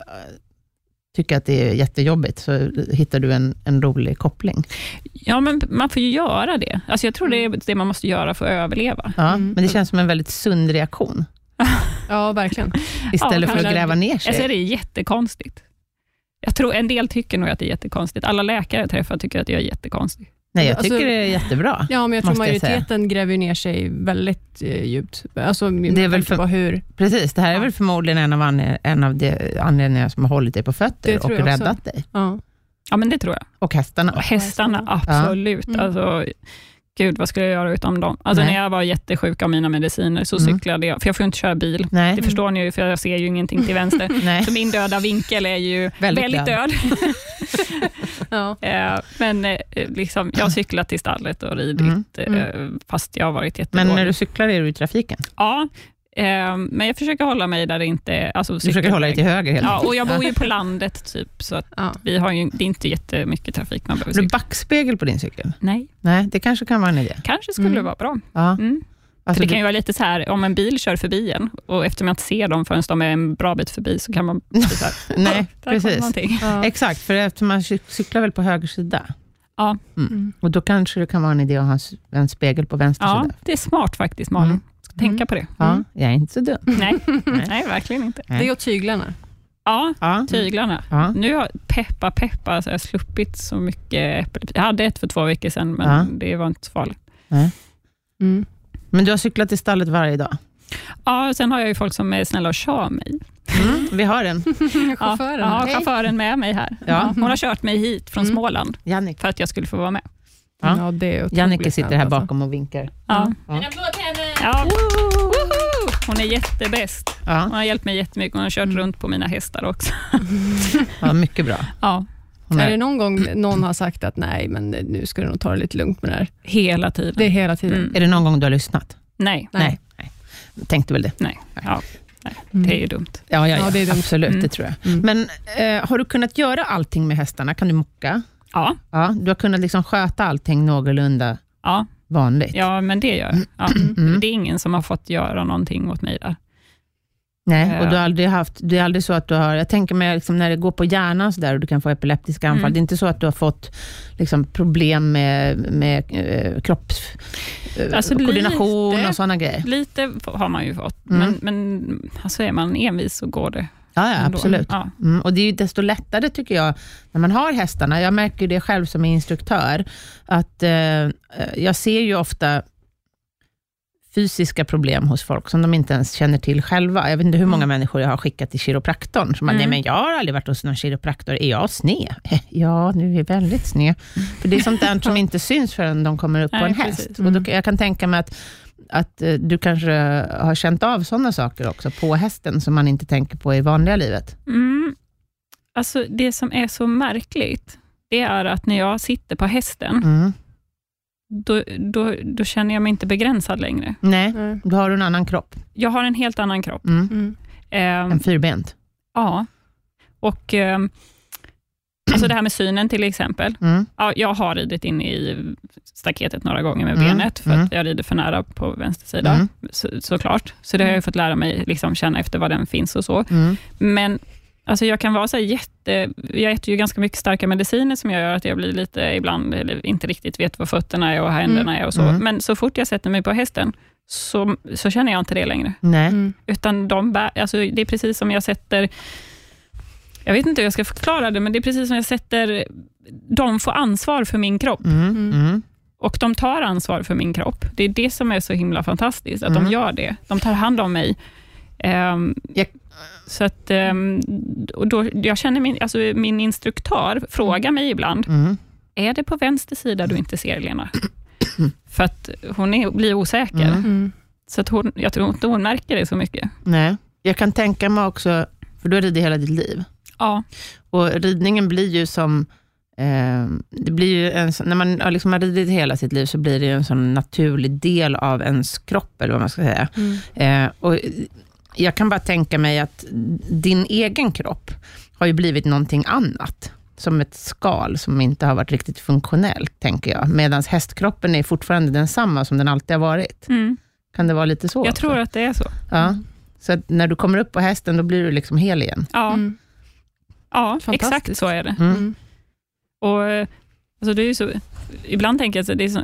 Speaker 2: tycka att det är jättejobbigt, så hittar du en, en rolig koppling.
Speaker 3: ja, men man får ju göra det. Alltså, jag tror det
Speaker 2: Mm.
Speaker 3: är det man måste göra för att överleva.
Speaker 2: Ja,
Speaker 1: Mm.
Speaker 2: Men det känns som en väldigt sund reaktion,
Speaker 1: Ja, verkligen.
Speaker 2: istället för
Speaker 3: kanske. Alltså,
Speaker 2: att gräva ner sig.
Speaker 3: Jag ser det är jättekonstigt. Jag tror, en del tycker nog att det är jättekonstigt. Alla läkare jag träffar tycker att jag är jättekonstig.
Speaker 2: Nej, jag
Speaker 1: Alltså-
Speaker 2: tycker det är jättebra.
Speaker 1: Ja, men jag tror
Speaker 2: Måste jag säga.
Speaker 1: majoriteten gräver ju ner sig väldigt eh, djupt. Alltså, med
Speaker 2: Det är väl
Speaker 1: tanke
Speaker 2: för-
Speaker 1: på hur...
Speaker 2: Precis, det här är väl förmodligen en av, anle- en av de anledningarna som har hållit dig på
Speaker 1: Det
Speaker 2: fötter och
Speaker 1: tror jag också.
Speaker 2: räddat dig.
Speaker 1: Ja.
Speaker 3: Ja, men det tror jag.
Speaker 2: Och hästarna.
Speaker 3: Och hästarna, absolut.
Speaker 1: Mm.
Speaker 3: Alltså, gud, vad skulle jag göra utan dem? Alltså,
Speaker 2: Nej.
Speaker 3: när jag var jättesjuk av mina mediciner så
Speaker 2: Mm.
Speaker 3: cyklade jag, för jag får ju inte köra bil.
Speaker 2: Nej,
Speaker 3: Det förstår ni ju, för jag ser ju ingenting till vänster.
Speaker 2: nej.
Speaker 3: Så min döda vinkel är ju väldigt, död.
Speaker 1: Ja.
Speaker 3: Eh, Men eh, liksom, jag har cyklat till stallet och ridit,
Speaker 1: Mm.
Speaker 3: eh, fast jag har varit jättedålig.
Speaker 2: Men när du cyklar är du i trafiken.
Speaker 3: Ja, eh, men jag försöker hålla mig där det inte är... Alltså,
Speaker 2: Du försöker hålla dig till höger hela
Speaker 3: Ja,
Speaker 2: tiden.
Speaker 3: och jag bor ju på landet, typ, så att
Speaker 1: Ja.
Speaker 3: vi har ju, det är inte jättemycket trafik man behöver
Speaker 2: Har du
Speaker 3: cykla.
Speaker 2: backspegel på din cykel?
Speaker 3: Nej,
Speaker 2: Nej, det kanske kan vara en idé.
Speaker 3: kanske skulle
Speaker 1: Mm.
Speaker 3: det vara bra.
Speaker 2: Ja.
Speaker 3: Mm.
Speaker 2: Alltså,
Speaker 3: För
Speaker 2: du-
Speaker 3: det kan ju vara lite så här, om en bil kör förbi en och eftersom jag inte ser dem förrän de är en bra bit förbi så kan man bli så här, "Ah,
Speaker 2: Nej,
Speaker 3: "Där kom
Speaker 2: precis.
Speaker 3: någonting."
Speaker 1: Ja.
Speaker 2: Exakt, för eftersom man cy- cyklar väl på höger sida.
Speaker 3: Ja.
Speaker 2: Mm.
Speaker 1: Mm.
Speaker 2: Och då kanske det kan vara en idé att ha en s- en spegel på vänster
Speaker 3: Ja,
Speaker 2: sida.
Speaker 3: det är smart faktiskt Malin.
Speaker 2: Mm.
Speaker 3: Ska tänka på det.
Speaker 2: Ja,
Speaker 1: Mm.
Speaker 2: jag är inte så dum.
Speaker 3: Nej, nej, verkligen inte.
Speaker 1: Det är åt tyglarna.
Speaker 3: Ja,
Speaker 2: Ja.
Speaker 3: tyglarna.
Speaker 2: Ja.
Speaker 3: Nu har peppa peppa så jag har sluppit så mycket äppelpip. Jag hade ett för två veckor sedan, men
Speaker 2: Ja.
Speaker 3: det var inte så farligt.
Speaker 1: Mm.
Speaker 2: Men du har cyklat till stallet varje dag?
Speaker 3: Ja, och sen har jag ju folk som är snälla och kör mig.
Speaker 2: Mm, vi har den.
Speaker 1: Chauffören.
Speaker 3: Ja, jag
Speaker 2: Hej.
Speaker 3: har chauffören med mig här.
Speaker 2: Ja.
Speaker 3: Hon har kört mig hit från
Speaker 1: Mm.
Speaker 3: Småland
Speaker 2: Jannik.
Speaker 3: för att jag skulle få vara med.
Speaker 2: Ja.
Speaker 1: Ja, det är otroligt
Speaker 2: Jannike sitter
Speaker 1: snällt,
Speaker 2: här
Speaker 1: alltså.
Speaker 2: bakom och vinkar.
Speaker 3: Ja.
Speaker 2: Ja. En
Speaker 3: applåd till henne! Ja. Woho! Hon är jättebäst. Hon
Speaker 2: Ja,
Speaker 3: har hjälpt mig jättemycket. Hon har kört runt på mina hästar också.
Speaker 2: ja mycket bra.
Speaker 3: Ja,
Speaker 2: Hon
Speaker 1: Är det
Speaker 2: är,
Speaker 1: någon gång någon har sagt att nej, men nu ska du nog ta det lite lugnt med det här?
Speaker 3: hela tiden.
Speaker 1: Det är hela tiden.
Speaker 3: Mm.
Speaker 2: är det någon gång du har lyssnat?
Speaker 3: Nej,
Speaker 2: Nej. Nej. Tänkte väl det.
Speaker 1: Mm.
Speaker 3: det är ju dumt.
Speaker 2: Ja, ja, ja,
Speaker 1: Ja, det är dumt.
Speaker 2: absolut.
Speaker 3: Mm.
Speaker 2: Det tror jag.
Speaker 1: Mm.
Speaker 2: Men eh, har du kunnat göra allting med hästarna? Kan du mocka?
Speaker 3: Ja,
Speaker 2: Ja, du har kunnat liksom sköta allting någorlunda
Speaker 3: ja,
Speaker 2: vanligt?
Speaker 3: ja men det gör jag. Ja.
Speaker 2: Mm.
Speaker 3: Det är ingen som har fått göra någonting åt mig där.
Speaker 2: Nej, och
Speaker 3: Ja.
Speaker 2: du har aldrig haft, det är aldrig så att du har, jag tänker mig liksom när det går på hjärnan så där och du kan få epileptiska anfall,
Speaker 3: Mm.
Speaker 2: det är inte så att du har fått liksom problem med, med eh, kropps, eh,
Speaker 3: Alltså,
Speaker 2: koordination
Speaker 3: lite.
Speaker 2: och sådana grejer?
Speaker 3: Lite f- har man ju fått,
Speaker 2: Mm.
Speaker 3: men, men alltså är man envis så går det.
Speaker 2: Ja, ja
Speaker 3: ändå.
Speaker 2: absolut.
Speaker 3: Ja.
Speaker 2: Mm, och det är ju desto lättare tycker jag, när man har hästarna. Jag märker ju det själv som instruktör, att eh, jag ser ju ofta fysiska problem hos folk som de inte ens känner till själva. Jag vet inte hur många människor jag har skickat till kiropraktorn, som bara, nej
Speaker 3: Mm.
Speaker 2: men jag har aldrig varit hos någon kiropraktor, är jag sned? ja, nu är jag väldigt sned. För det är sånt där som inte syns förrän de kommer upp på
Speaker 3: Nej,
Speaker 2: en
Speaker 3: precis. Mm.
Speaker 2: häst. Och då, jag kan tänka mig att, att eh, du kanske har känt av sådana saker också på hästen, som man inte tänker på i vanliga livet.
Speaker 3: Mm. Alltså det som är så märkligt, det är att när jag sitter på hästen,
Speaker 2: Mm.
Speaker 3: då, då, då känner jag mig inte begränsad längre.
Speaker 2: Nej,
Speaker 1: Mm.
Speaker 2: då har du en annan kropp.
Speaker 3: Jag har en helt annan kropp.
Speaker 2: Mm.
Speaker 1: Mm.
Speaker 3: Ehm,
Speaker 2: En fyrbent.
Speaker 3: ja. Och ehm, alltså det här med synen till exempel.
Speaker 2: Mm.
Speaker 3: Ja, jag har ridit in i staketet några gånger med
Speaker 2: Mm,
Speaker 3: benet, för
Speaker 2: mm.
Speaker 3: att jag rider för nära på vänster sida,
Speaker 2: Mm.
Speaker 3: så, såklart. Så det har jag fått lära mig liksom, känna efter var den finns och så.
Speaker 2: Mm.
Speaker 3: Men alltså, jag kan vara så här jätte... Jag äter ju ganska mycket starka mediciner, som jag gör att jag blir lite ibland, eller inte riktigt vet var fötterna är och händerna är och så.
Speaker 2: Mm.
Speaker 3: Men så fort jag sätter mig på hästen, så, så känner jag inte det längre.
Speaker 2: Nej.
Speaker 1: Mm.
Speaker 3: Utan de bär, alltså, det är precis som jag sätter... Jag vet inte hur jag ska förklara det, men det är precis som jag sätter... De får ansvar för min kropp
Speaker 2: Mm. Mm.
Speaker 3: och de tar ansvar för min kropp. Det är det som är så himla fantastiskt, att
Speaker 2: Mm.
Speaker 3: de gör det. De tar hand om mig. Ehm,
Speaker 2: Jag-
Speaker 3: så att, ehm, och då, jag känner min, alltså min instruktör frågar mig ibland,
Speaker 2: Mm.
Speaker 3: är det på vänster sida du inte ser Lena? För att hon är, blir osäker.
Speaker 2: Mm.
Speaker 1: Mm.
Speaker 3: Så att hon, jag tror inte hon märker det så mycket.
Speaker 2: Nej. Jag kan tänka mig också, för du har ridit hela ditt liv,
Speaker 3: Ja,
Speaker 2: och ridningen blir ju som eh, det blir ju en, sån- när man har liksom har ridit hela sitt liv, så blir det ju en sån naturlig del av ens kropp, eller vad man ska säga.
Speaker 1: Mm.
Speaker 2: Eh, och jag kan bara tänka mig att din egen kropp har ju blivit någonting annat. Som ett skal som inte har varit riktigt funktionellt, tänker jag. Medan hästkroppen är fortfarande densamma som den alltid har varit.
Speaker 3: mm.
Speaker 2: Kan det vara lite så?
Speaker 3: jag
Speaker 2: också?
Speaker 3: tror att det är så.
Speaker 2: Ja. Så att när du kommer upp på hästen, då blir du liksom hel igen.
Speaker 3: Ja,
Speaker 1: Mm.
Speaker 3: ja exakt
Speaker 1: Fantastiskt.
Speaker 3: så är det.
Speaker 2: Mm.
Speaker 1: Mm.
Speaker 3: Och, eh, alltså det är ju så, ibland tänker jag att det är så,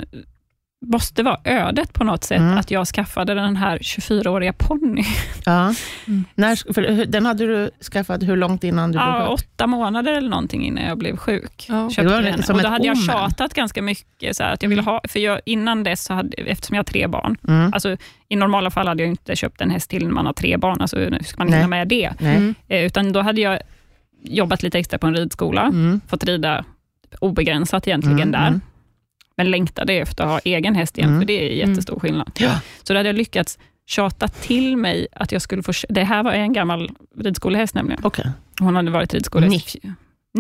Speaker 3: måste vara ödet på något sätt,
Speaker 2: Mm.
Speaker 3: att jag skaffade den här 24-åriga ponnyn.
Speaker 2: Ja.
Speaker 1: Mm.
Speaker 2: När, sk- för, hur- den hade du skaffat hur långt innan du
Speaker 3: Ja,
Speaker 2: blev sjuk?
Speaker 3: åtta månader eller någonting innan jag blev sjuk.
Speaker 1: Ja.
Speaker 3: Köpte
Speaker 2: Det var
Speaker 3: jag henne.
Speaker 2: som
Speaker 3: och då
Speaker 2: ett
Speaker 3: hade jag
Speaker 2: omen.
Speaker 3: tjatat ganska mycket, så här, att jag ville ha, för jag, innan dess, så hade, eftersom jag har tre barn,
Speaker 2: Mm.
Speaker 3: alltså, i normala fall hade jag inte köpt en häst till när man har tre barn, alltså, hur ska man
Speaker 2: Nej.
Speaker 3: hinna med det?
Speaker 2: Nej.
Speaker 1: Mm.
Speaker 3: Eh, Utan då hade jag jobbat lite extra på en ridskola,
Speaker 2: Mm.
Speaker 3: fått rida obegränsat egentligen
Speaker 2: Mm,
Speaker 3: där.
Speaker 2: mm.
Speaker 3: men längtade efter att ha egen häst igen,
Speaker 2: Mm.
Speaker 3: för det är jättestor skillnad.
Speaker 2: Ja.
Speaker 3: Så då hade jag lyckats tjata till mig att jag skulle få... Det här var en gammal ridskolehäst nämligen.
Speaker 2: Okej.
Speaker 3: Hon hade varit ridskolehäst... Ni.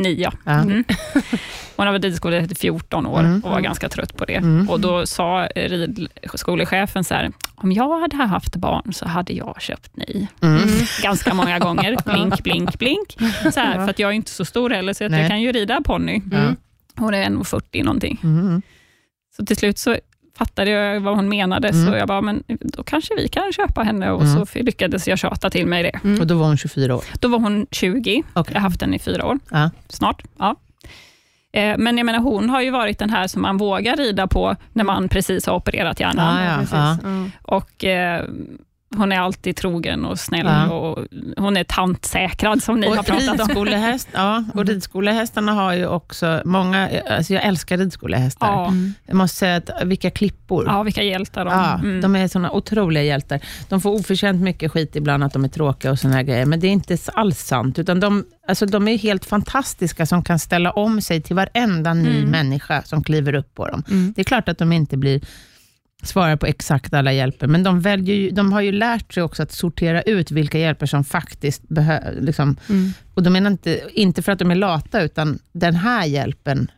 Speaker 3: Nio. ja.
Speaker 2: Ja.
Speaker 3: Mm. Hon hade varit ridskolehäst i 14 år
Speaker 2: Mm.
Speaker 3: och var ganska trött på det.
Speaker 2: Mm.
Speaker 3: Och Då sa eh, ridskolechefen så här, om jag hade haft barn så hade jag köpt ni.
Speaker 2: Mm.
Speaker 3: Ganska många gånger. Blink, blink, blink. Så här, för att jag är inte så stor heller, så att
Speaker 2: Nej.
Speaker 3: jag kan ju rida ponny.
Speaker 1: Mm.
Speaker 2: Ja.
Speaker 3: Hon är 1,40 någonting.
Speaker 2: Mm.
Speaker 3: Så till slut så fattade jag vad hon menade,
Speaker 2: Mm.
Speaker 3: så jag bara, men då kanske vi kan köpa henne. Och
Speaker 2: Mm.
Speaker 3: så lyckades jag tjata till mig det.
Speaker 1: Mm.
Speaker 2: Och då var hon 24 år.
Speaker 3: Då var hon 20,
Speaker 2: Okej.
Speaker 3: jag har haft henne i fyra år,
Speaker 2: Ja.
Speaker 3: snart. Ja. Eh, Men jag menar, hon har ju varit den här som man vågar rida på när man precis har opererat hjärnan.
Speaker 2: Ja, ja,
Speaker 1: precis.
Speaker 2: ja.
Speaker 1: Ja.
Speaker 3: Och, eh, hon är alltid trogen och snäll
Speaker 2: Ja.
Speaker 3: och hon är tantsäkrad som ni har
Speaker 2: Och,
Speaker 3: pratat om. Mm.
Speaker 2: ridskolehäst, ja, och ridskolehästarna har ju också många, alltså jag älskar ridskolehästar.
Speaker 3: Ja,
Speaker 1: Mm.
Speaker 2: Jag måste säga att vilka klippor.
Speaker 3: ja, vilka hjältar de,
Speaker 2: Ja,
Speaker 3: mm.
Speaker 2: De är såna otroliga hjältar. De får oförtjänt mycket skit ibland, att de är tråkiga och såna här grejer, men det är inte alls sant. Utan de, alltså de är helt fantastiska som kan ställa om sig till varenda ny
Speaker 3: Mm.
Speaker 2: människa som kliver upp på dem.
Speaker 1: Mm.
Speaker 2: Det är klart att de inte blir svarar på exakt alla hjälper, men de, väljer ju, de har ju lärt sig också att sortera ut vilka hjälper som faktiskt behövs. Liksom.
Speaker 1: Mm.
Speaker 2: Och de menar inte, inte för att de är lata, utan den här hjälpen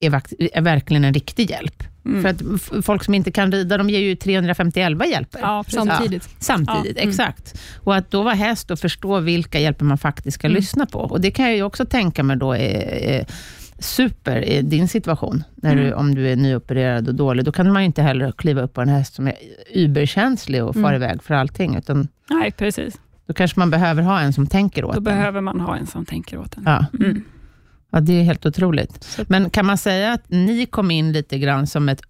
Speaker 2: är, vak- är verkligen en riktig hjälp.
Speaker 3: Mm.
Speaker 2: För att f- folk som inte kan rida, de ger ju 351 hjälper
Speaker 3: ja, precis.
Speaker 1: Samtidigt.
Speaker 2: samtidigt.
Speaker 1: Ja, mm.
Speaker 2: Exakt. Och att då vara häst och förstå vilka hjälper man faktiskt ska
Speaker 3: Mm.
Speaker 2: lyssna på. Och det kan jag ju också tänka mig då är, är super i din situation. När du,
Speaker 3: Mm.
Speaker 2: om du är nyopererad och dålig, då kan man ju inte heller kliva upp på en häst som är überkänslig och far
Speaker 1: Mm.
Speaker 2: iväg för allting, utan
Speaker 3: Nej, precis.
Speaker 2: då kanske man behöver ha en som tänker åt
Speaker 3: Då
Speaker 2: en.
Speaker 3: behöver man ha en som tänker åt en.
Speaker 2: Ja.
Speaker 3: Mm.
Speaker 2: Ja, det är helt otroligt. Men kan man säga att ni kom in lite grann som ett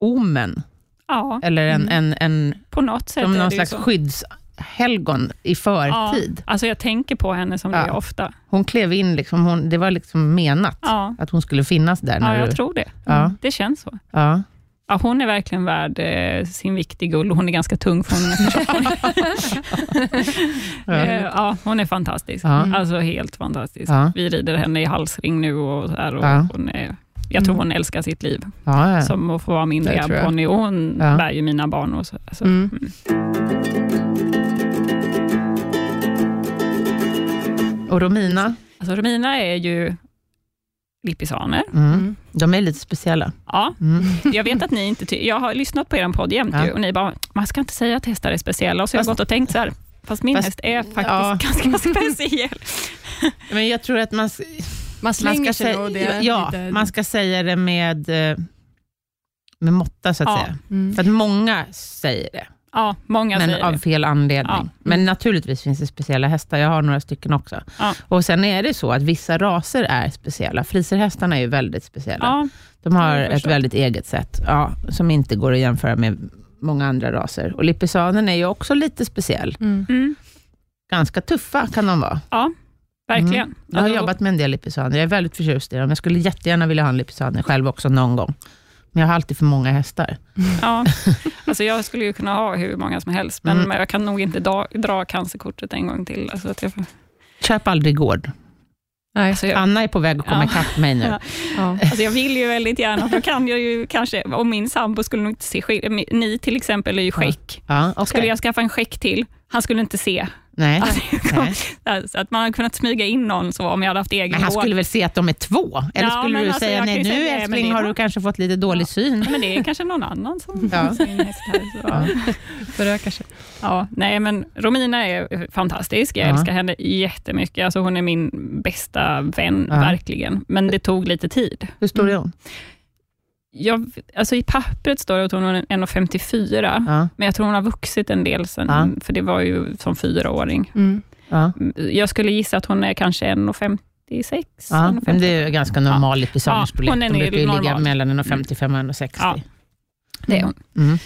Speaker 2: omen,
Speaker 3: Ja,
Speaker 2: eller en, en, en,
Speaker 3: på något sätt
Speaker 2: som
Speaker 3: är
Speaker 2: någon
Speaker 3: det ju
Speaker 2: slags
Speaker 3: så.
Speaker 2: skyddshelgon i förtid?
Speaker 3: Alltså jag tänker på henne som
Speaker 2: Ja.
Speaker 3: det ofta.
Speaker 2: Hon klev in, liksom, hon, det var liksom menat
Speaker 3: Ja,
Speaker 2: att hon skulle finnas där.
Speaker 3: ja
Speaker 2: När du,
Speaker 3: jag tror det.
Speaker 2: Ja.
Speaker 3: Det känns så.
Speaker 2: ja.
Speaker 3: Ja, hon är verkligen värd eh, sin vikt i guld och hon är ganska tung för hon är ganska tjock.
Speaker 2: Ja.
Speaker 3: Eh, ja, hon är fantastisk.
Speaker 2: Ja.
Speaker 3: Alltså helt fantastisk.
Speaker 2: Ja.
Speaker 3: Vi rider henne i halsring nu och, så här, och
Speaker 2: Ja. Mm.
Speaker 3: hon är jag tror hon älskar sitt liv,
Speaker 2: Ja, ja.
Speaker 3: som att få vara min
Speaker 1: Det tror jag.
Speaker 3: ponny. Och hon
Speaker 2: Ja.
Speaker 3: bär ju mina barn. Och så, alltså,
Speaker 1: Mm.
Speaker 2: Och Romina,
Speaker 3: alltså, Romina är ju lippisaner.
Speaker 2: mm.
Speaker 1: Mm.
Speaker 2: de är lite speciella.
Speaker 3: Ja,
Speaker 2: Mm.
Speaker 3: jag vet att ni inte ty- Jag har lyssnat på er podd jämt
Speaker 2: Ja.
Speaker 3: ju, och ni bara, man ska inte säga att hästar är speciella. Och så har jag
Speaker 2: Fast-
Speaker 3: gått och tänkt så här, fast min
Speaker 2: Fast-
Speaker 3: häst är faktiskt
Speaker 2: Ja.
Speaker 3: ganska speciell.
Speaker 2: Men jag tror att man,
Speaker 1: Man
Speaker 2: man,
Speaker 1: slänger
Speaker 2: ska,
Speaker 1: sig och det
Speaker 2: säga,
Speaker 1: är
Speaker 2: ja,
Speaker 1: lite...
Speaker 2: man ska säga det med, eh, med måtta, så att
Speaker 3: Ja.
Speaker 2: säga.
Speaker 1: Mm.
Speaker 2: För att många säger det,
Speaker 3: Ja, många
Speaker 2: men
Speaker 3: säger
Speaker 2: av
Speaker 3: det.
Speaker 2: fel anledning.
Speaker 3: Ja. Mm.
Speaker 2: Men naturligtvis finns det speciella hästar, jag har några stycken också.
Speaker 3: Ja.
Speaker 2: Och Sen är det så att vissa raser är speciella. Friserhästarna är ju väldigt speciella.
Speaker 3: Ja,
Speaker 2: De har
Speaker 3: Ja, jag
Speaker 2: ett
Speaker 3: förstår.
Speaker 2: väldigt eget sätt, ja, som inte går att jämföra med många andra raser. Och lippisanen är ju också lite speciell.
Speaker 1: Mm.
Speaker 3: mm,
Speaker 2: Ganska tuffa kan de vara.
Speaker 3: verkligen.
Speaker 2: Jag Mm. har
Speaker 3: Alltså,
Speaker 2: jobbat med en del lippisaner, jag är väldigt förtjust i dem. Jag skulle jättegärna vilja ha en lippisaner själv också någon gång. Men jag har alltid för många hästar.
Speaker 3: Ja. Alltså jag skulle ju kunna ha hur många som helst, men
Speaker 2: Mm.
Speaker 3: men jag kan nog inte da, dra cancerkortet en gång till. Alltså att jag, får-
Speaker 2: Köp aldrig gård.
Speaker 1: Nej,
Speaker 3: alltså jag,
Speaker 2: Anna är på väg att komma
Speaker 3: Ja.
Speaker 2: ikapp mig nu.
Speaker 3: Ja.
Speaker 1: ja.
Speaker 3: alltså jag vill ju väldigt gärna, för kan jag ju kanske, och min sambo skulle nog inte se skill- Ni till exempel är ju skäck.
Speaker 2: Ja, okej.
Speaker 3: Skulle jag skaffa en skäck till, han skulle inte se.
Speaker 2: Nej.
Speaker 3: Alltså, jag kom-
Speaker 2: Nej.
Speaker 3: Alltså, att man hade kunnat smyga in någon så om jag hade haft egen
Speaker 2: Men han
Speaker 3: båt.
Speaker 2: skulle väl se att de är två? Eller
Speaker 3: Ja,
Speaker 2: skulle
Speaker 3: men
Speaker 2: du
Speaker 3: alltså,
Speaker 2: säga,
Speaker 3: jag kan
Speaker 2: nej
Speaker 3: ju
Speaker 2: nu
Speaker 3: säga, nej, men
Speaker 2: älskling
Speaker 3: det-
Speaker 2: har du kanske fått lite dålig
Speaker 3: Ja.
Speaker 2: syn.
Speaker 3: Men det är kanske någon annan som
Speaker 2: Ja.
Speaker 3: har sin häst här. Så.
Speaker 2: Ja.
Speaker 3: Ja.
Speaker 1: Förökar sig.
Speaker 3: nej, men Romina är fantastisk. Jag
Speaker 2: Ja.
Speaker 3: älskar henne jättemycket. Alltså, hon är min bästa vän,
Speaker 2: Ja.
Speaker 3: verkligen. Men det tog lite tid.
Speaker 2: Hur stor är hon?
Speaker 3: Jag, alltså, I pappret står det att hon är 1,54,
Speaker 2: Ja,
Speaker 3: men jag tror hon har vuxit en del sen,
Speaker 2: Ja.
Speaker 3: för det var ju som fyraåring.
Speaker 1: Mm.
Speaker 2: ja.
Speaker 3: Jag skulle gissa att hon är kanske 1,56.
Speaker 2: Ja,
Speaker 3: 1,50.
Speaker 2: men det är ju ganska normal lippisanerstorlek.
Speaker 3: Ja, hon är
Speaker 2: De brukar ju
Speaker 3: normal.
Speaker 2: ligga mellan 1,55 och 1,60.
Speaker 3: Ja. Det är hon.
Speaker 2: Mm.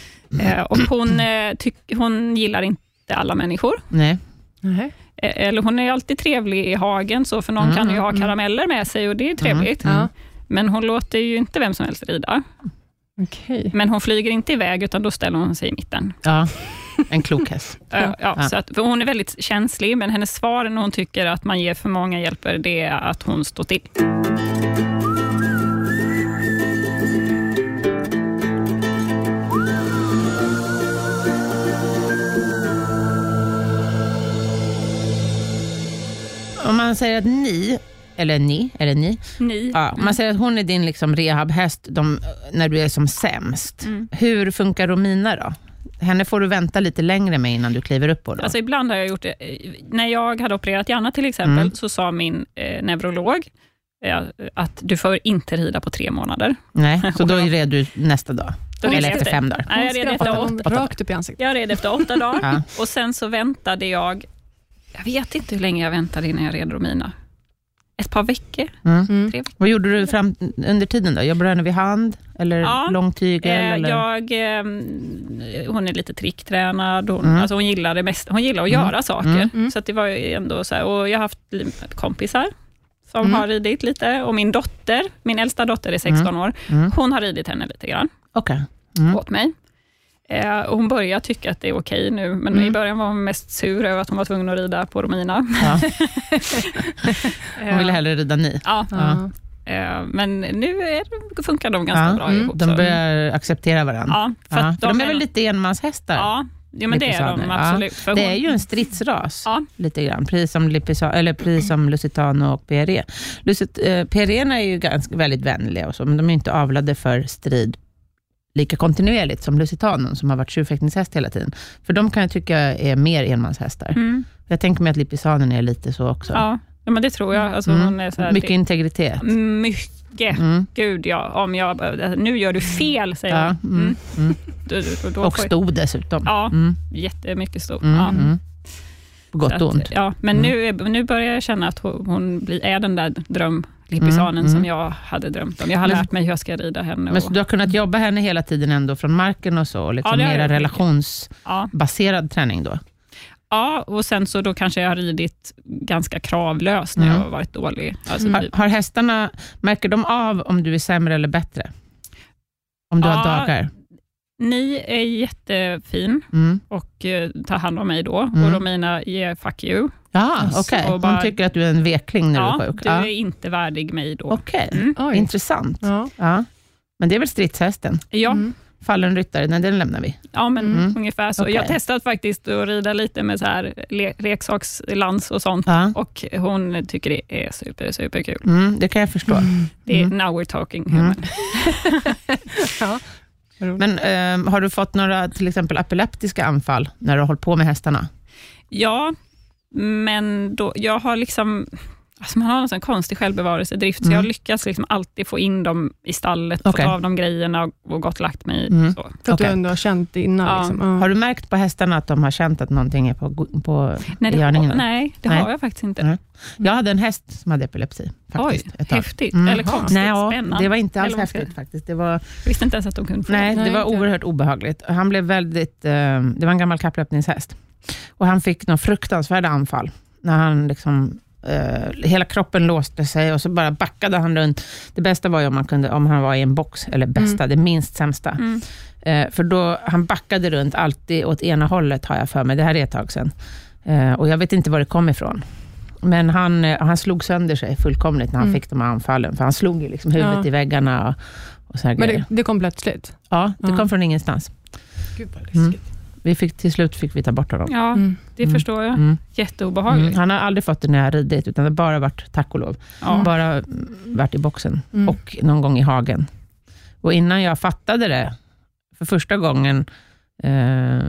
Speaker 3: Eh, Och hon, eh, tyck, hon gillar inte alla människor.
Speaker 2: Nej.
Speaker 1: Nej.
Speaker 3: Eh, Eller hon är alltid trevlig i hagen, så för någon
Speaker 2: Mm,
Speaker 3: kan ju
Speaker 1: mm,
Speaker 3: ha
Speaker 1: mm.
Speaker 3: karameller med sig och det är trevligt.
Speaker 1: Ja.
Speaker 3: Men hon låter ju inte vem som helst rida.
Speaker 1: Okej.
Speaker 3: Men hon flyger inte iväg, utan då ställer hon sig i mitten.
Speaker 2: Ja, en klok häst.
Speaker 3: Ja. Ja,
Speaker 2: Ja.
Speaker 3: så att, för hon är väldigt känslig, men hennes svar när hon tycker att man ger för många hjälper, det är att hon står still.
Speaker 2: Om man säger att ni, eller ni, eller ni.
Speaker 3: Ni.
Speaker 2: Ja, om man säger att hon är din liksom rehabhäst de, när du är som sämst.
Speaker 3: Mm.
Speaker 2: Hur funkar Romina då? Henne får du vänta lite längre med innan du kliver upp på då.
Speaker 3: Alltså ibland har jag gjort det. Eh, När jag hade opererat hjärna till exempel,
Speaker 2: Mm.
Speaker 3: så sa min eh, neurolog eh, att du får inte rida på tre månader.
Speaker 2: Nej, så då är du nästa dag.
Speaker 3: Då
Speaker 2: eller
Speaker 3: red
Speaker 2: efter
Speaker 3: jag-
Speaker 2: fem dagar.
Speaker 3: Nej, jag red efter åtta.
Speaker 1: hon rakt upp i ansiktet.
Speaker 3: Jag red efter åtta dagar.
Speaker 2: Ja.
Speaker 3: Och sen så väntade jag, jag vet inte hur länge jag väntade innan jag red Romina. ett par veckor.
Speaker 2: Mm.
Speaker 1: Mm.
Speaker 2: Vad gjorde du fram, under tiden då? Jobbade du henne vid hand eller
Speaker 3: Ja,
Speaker 2: lång tygel?
Speaker 3: Eh,
Speaker 2: eller?
Speaker 3: jag, ehm, hon är lite tricktränad. Hon,
Speaker 2: Mm.
Speaker 3: alltså hon, gillar det mest, hon gillar att
Speaker 2: Mm.
Speaker 3: göra saker.
Speaker 2: Mm.
Speaker 1: Mm.
Speaker 3: Så att det var ju ändå så här, och jag har haft li- kompisar som
Speaker 2: Mm.
Speaker 3: har ridit lite. Och min dotter, min äldsta dotter är 16 år.
Speaker 2: Mm.
Speaker 3: Hon har ridit henne lite grann
Speaker 2: Okej. Mm.
Speaker 3: åt mig. Eh, och hon börjar tycka att det är okej nu, men
Speaker 2: Mm.
Speaker 3: i början var hon mest sur över att hon var tvungen att rida på Romina.
Speaker 2: Ja,
Speaker 3: Eh,
Speaker 2: hon ville hellre rida ni.
Speaker 3: ja,
Speaker 2: Ja.
Speaker 3: eh, men nu är, funkar de ganska
Speaker 2: Ja,
Speaker 3: bra
Speaker 1: mm.
Speaker 3: ihop.
Speaker 2: De
Speaker 3: så-
Speaker 2: börjar acceptera varandra.
Speaker 3: ja, för
Speaker 2: Ja,
Speaker 3: att
Speaker 2: för de är
Speaker 3: nog-
Speaker 2: väl lite enmanshästar?
Speaker 3: Ja, ja men det är de
Speaker 2: Lippisarna, ja.
Speaker 3: absolut. För
Speaker 2: Det
Speaker 3: hon-
Speaker 2: är ju en stridsras,
Speaker 3: Ja.
Speaker 2: lite grann. Precis som, Lipisa, eller precis som Lusitano och Pierre. Lusit, eh, Pierrena är ju ganska, väldigt vänliga, och så, men de är ju inte avlade för strid lika kontinuerligt som Lusitanon, som har varit tjurfäktningshäst hela tiden. För de kan jag tycka är mer enmanshästar.
Speaker 3: Mm,
Speaker 2: Jag tänker mig att Lippisanen är lite så också.
Speaker 3: ja. ja, men det tror jag. Alltså,
Speaker 2: Mm.
Speaker 3: hon är så här,
Speaker 2: Mycket integritet.
Speaker 3: Det, mycket.
Speaker 2: Mm.
Speaker 3: Gud ja, om jag, behövde- nu gör du fel, säger
Speaker 2: Ja,
Speaker 3: hon.
Speaker 2: mm. Mm.
Speaker 3: Då, då, då
Speaker 2: Och
Speaker 3: får-
Speaker 2: stod dessutom.
Speaker 3: Ja,
Speaker 2: Mm.
Speaker 3: jättemycket stor.
Speaker 2: Mm.
Speaker 3: Ja.
Speaker 2: Mm. På
Speaker 3: Så
Speaker 2: gott
Speaker 3: att, eh,
Speaker 2: och ont. Mm.
Speaker 3: Ja, men nu, är- nu börjar jag känna att hon, hon blir, är den där drömlippisanen
Speaker 2: Mm,
Speaker 3: som
Speaker 2: mm.
Speaker 3: jag hade drömt om. Jag har
Speaker 2: Men-
Speaker 3: lärt mig hur jag ska rida henne.
Speaker 2: Men så
Speaker 3: Och,
Speaker 2: du har kunnat jobba henne hela tiden ändå från marken och så, och liksom
Speaker 3: det har
Speaker 2: mera
Speaker 3: jag.
Speaker 2: relationsbaserad
Speaker 3: ja.
Speaker 2: träning då?
Speaker 3: ja, och sen så då kanske jag har ridit ganska kravlöst när
Speaker 2: Mm.
Speaker 3: jag har varit dålig. Alltså,
Speaker 1: Mm.
Speaker 2: Har, har hästarna, märker de av om du är sämre eller bättre? Om du har
Speaker 3: Ja.
Speaker 2: dagar?
Speaker 3: Ni är jättefin.
Speaker 2: Mm.
Speaker 3: och eh, tar hand om mig då.
Speaker 2: Mm.
Speaker 3: Och Romina ger fuck you.
Speaker 2: Ja,
Speaker 1: Alltså,
Speaker 2: okej.
Speaker 3: och
Speaker 2: Hon
Speaker 3: bara-
Speaker 2: tycker att du är en vekling när du
Speaker 3: Ja,
Speaker 2: är sjuk?
Speaker 3: du är inte värdig mig då.
Speaker 2: Okej,
Speaker 3: Mm.
Speaker 1: Oj.
Speaker 2: intressant.
Speaker 1: Ja.
Speaker 2: Ja. Men det är väl stridshästen?
Speaker 3: Ja,
Speaker 1: Mm.
Speaker 2: Fallen ryttare, nej, den lämnar vi.
Speaker 3: ja, men
Speaker 2: Mm.
Speaker 3: ungefär så.
Speaker 2: Okej.
Speaker 3: Jag har testat faktiskt att rida lite med så här le- leksakslans och sånt.
Speaker 2: Ja.
Speaker 3: Och hon tycker det är super, super kul.
Speaker 2: Mm, det kan jag förstå.
Speaker 3: Det är
Speaker 2: Mm.
Speaker 3: now we're talking.
Speaker 2: Mm.
Speaker 1: Ja.
Speaker 2: Men ehm, har du fått några till exempel epileptiska anfall när du har hållit på med hästarna?
Speaker 3: Ja, men då, jag har liksom Alltså man har en sån konstig självbevarelsedrift, så jag har
Speaker 2: Mm.
Speaker 3: lyckats liksom alltid få in dem i stallet,
Speaker 2: Okej.
Speaker 3: fått av dem grejerna och, och gått och lagt mig.
Speaker 2: Mm.
Speaker 3: Så.
Speaker 1: För att
Speaker 2: Okej.
Speaker 1: du ändå har känt det innan.
Speaker 3: Ja.
Speaker 1: Liksom. Ja.
Speaker 2: Har du märkt på hästarna att de har känt att någonting är på, på
Speaker 3: Nej, det,
Speaker 2: Görningen.
Speaker 3: har, nej, det
Speaker 2: Nej.
Speaker 3: har jag faktiskt inte.
Speaker 2: Jag hade en häst som hade epilepsi. Faktiskt,
Speaker 3: Oj,
Speaker 2: ett tag.
Speaker 3: häftigt.
Speaker 2: Mm.
Speaker 3: Eller konstigt,
Speaker 2: Nej, ja,
Speaker 3: spännande.
Speaker 2: det var inte alls
Speaker 3: Eller vad ska jag
Speaker 2: häftigt faktiskt. Det var,
Speaker 3: Jag visste inte ens att de kunde få
Speaker 2: nej,
Speaker 1: Nej,
Speaker 2: det var
Speaker 1: inte.
Speaker 2: oerhört obehagligt. Han blev väldigt, eh, det var en gammal kapplöpningshäst. Och han fick några fruktansvärda anfall. När han liksom, eh, hela kroppen låste sig och så bara backade han runt. Det bästa var ju om, man kunde, om han var i en box, eller bästa, det minst sämsta.
Speaker 3: det. Mm.
Speaker 2: Eh, för då, han backade runt alltid åt ena hållet, har jag för mig. Det här är ett tag sedan. Eh, och jag vet inte var det kom ifrån. Men han, eh, han slog sönder sig fullkomligt när han
Speaker 1: Mm.
Speaker 2: fick de här anfallen. För han slog ju liksom huvudet
Speaker 1: Ja.
Speaker 2: i väggarna och, och så här
Speaker 1: Men
Speaker 2: grejer.
Speaker 1: det, det kom plötsligt?
Speaker 2: Ja, det
Speaker 1: Ja.
Speaker 2: kom från ingenstans.
Speaker 1: Gud vad
Speaker 2: läskigt. Vi fick, till slut fick vi ta bort honom.
Speaker 3: Ja,
Speaker 1: Mm.
Speaker 3: det
Speaker 2: Mm.
Speaker 3: förstår jag.
Speaker 2: Mm.
Speaker 3: Jätteobehagligt.
Speaker 2: Mm. Han har aldrig fått det när jag har ridit, utan det har bara varit, tack och lov,
Speaker 3: Ja.
Speaker 2: bara mm, varit i boxen.
Speaker 1: Mm.
Speaker 2: och någon gång i hagen. Och innan jag fattade det, för första gången, eh,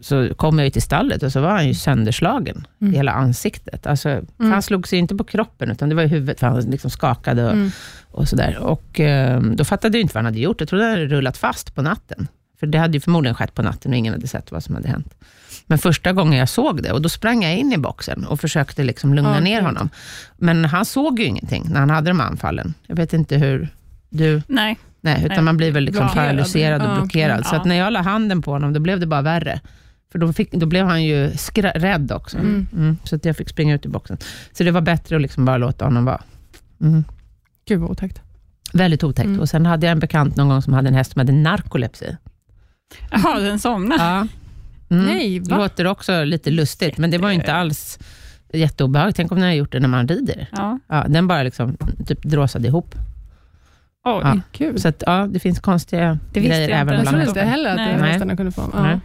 Speaker 2: så kom jag ju till stallet och så var han ju sönderslagen
Speaker 1: Mm.
Speaker 2: i hela ansiktet. Alltså, för
Speaker 1: Mm.
Speaker 2: Han slog sig inte på kroppen, utan det var i huvudet, för han liksom skakade och,
Speaker 1: Mm.
Speaker 2: och sådär. Och, eh, då fattade jag inte vad han hade gjort. Jag trodde han hade rullat fast på natten. För det hade ju förmodligen skett på natten och ingen hade sett vad som hade hänt. Men första gången jag såg det, och då sprang jag in i boxen och försökte liksom lugna
Speaker 1: Ja,
Speaker 2: ner
Speaker 1: gud.
Speaker 2: honom. Men han såg ju ingenting när han hade de här anfallen. Jag vet inte hur du...
Speaker 3: Nej,
Speaker 2: Nej, utan
Speaker 3: Nej,
Speaker 2: man blir väl liksom
Speaker 3: blockerad.
Speaker 2: paralyserad och
Speaker 1: Ja,
Speaker 2: blockerad. Så
Speaker 3: ja.
Speaker 2: att när jag la handen på honom, då blev det bara värre. För då, fick, då blev han ju skra- rädd också.
Speaker 1: Mm.
Speaker 2: Mm, så att jag fick springa ut i boxen. Så det var bättre att liksom bara låta honom vara. Mm.
Speaker 1: Gud vad otäckt.
Speaker 2: Väldigt otäckt.
Speaker 1: Mm.
Speaker 2: Och sen hade jag en bekant någon gång som hade en häst som hade narkolepsi.
Speaker 3: Jaha, den somnade.
Speaker 2: Ja. Mm.
Speaker 1: Nej,
Speaker 2: Det
Speaker 1: va?
Speaker 2: låter också lite lustigt, men det var ju inte
Speaker 3: Eh.
Speaker 2: alls jätteobehagligt. Tänk om ni har gjort det när man rider.
Speaker 3: Ja.
Speaker 2: Ja, den bara liksom, typ dråsade ihop.
Speaker 3: Oj.
Speaker 2: Ja.
Speaker 1: Gud.
Speaker 2: Så att, ja, det finns konstiga
Speaker 3: Det visste
Speaker 2: grejer
Speaker 3: jag inte.
Speaker 2: även
Speaker 1: Jag
Speaker 2: bland
Speaker 1: trodde inte
Speaker 2: hästar.
Speaker 1: heller att
Speaker 3: Nej.
Speaker 1: hästarna kunde få... Ja.
Speaker 2: Nej.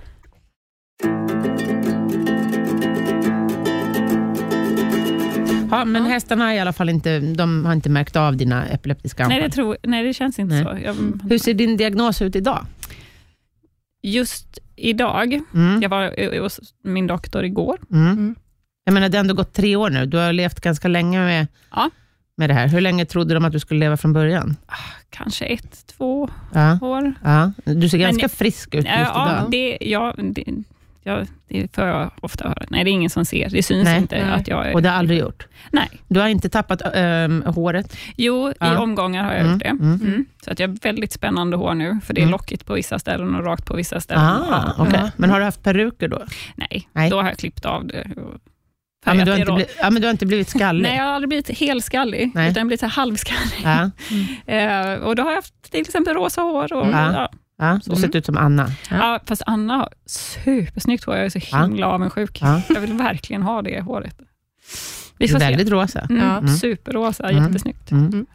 Speaker 2: Ja, men
Speaker 1: Ja.
Speaker 2: hästarna har i alla fall inte, de har inte märkt av dina epileptiska anfall.
Speaker 3: Nej, det tror, nej, det känns inte
Speaker 2: Nej.
Speaker 3: så. Jag,
Speaker 2: Hur ser din diagnos ut idag?
Speaker 3: just idag,
Speaker 2: Mm.
Speaker 3: jag var eh, hos min doktor igår.
Speaker 2: Mm.
Speaker 1: Mm.
Speaker 2: Jag menar, det har ändå gått tre år nu. Du har levt ganska länge med,
Speaker 3: Ja.
Speaker 2: med det här. Hur länge trodde de att du skulle leva från början?
Speaker 3: Kanske ett, två
Speaker 2: Ja,
Speaker 3: år.
Speaker 2: ja. Du ser ganska
Speaker 3: Men-
Speaker 2: frisk ut just
Speaker 3: ja,
Speaker 2: idag.
Speaker 3: det, ja, det, jag, det får jag ofta höra. Nej, det är ingen som ser. Det syns
Speaker 2: Nej.
Speaker 3: inte
Speaker 1: Nej.
Speaker 3: att jag är...
Speaker 2: Och det har jag aldrig gjort.
Speaker 3: Nej.
Speaker 2: Du har inte tappat ehm, håret?
Speaker 3: Jo, i
Speaker 2: Ja.
Speaker 3: omgångar har jag
Speaker 2: Mm,
Speaker 3: gjort det.
Speaker 2: mm.
Speaker 3: Mm. Så att jag har väldigt spännande hår nu, för det är
Speaker 2: Mm.
Speaker 3: lockigt på vissa ställen och rakt på vissa ställen.
Speaker 2: Ah, okej.
Speaker 1: Ja.
Speaker 2: Men har du haft peruker då?
Speaker 3: Nej,
Speaker 2: Nej.
Speaker 3: då har jag klippt av det. och
Speaker 2: Ja, men
Speaker 3: färgat
Speaker 2: du, har
Speaker 3: det
Speaker 2: inte
Speaker 3: rakt.
Speaker 2: blivit, ja, men du har inte blivit skallig?
Speaker 3: Nej, jag har aldrig blivit helskallig,
Speaker 2: Nej.
Speaker 3: utan jag har blivit så här halvskallig.
Speaker 2: ja,
Speaker 3: Eh, och då har jag haft till exempel rosa hår. Och,
Speaker 2: Mm.
Speaker 3: ja.
Speaker 2: ja, du har
Speaker 3: Mm.
Speaker 2: sett ut som Anna.
Speaker 1: Ja.
Speaker 3: Ja, fast Anna har supersnyggt hår. Jag är så
Speaker 2: Ja.
Speaker 3: himla avundsjuk.
Speaker 2: Ja.
Speaker 3: Jag vill verkligen ha det håret. Vi får se.
Speaker 2: Väldigt rosa.
Speaker 3: Mm,
Speaker 1: Ja.
Speaker 3: Superrosa,
Speaker 2: Mm.
Speaker 3: jättesnyggt.
Speaker 2: Mm.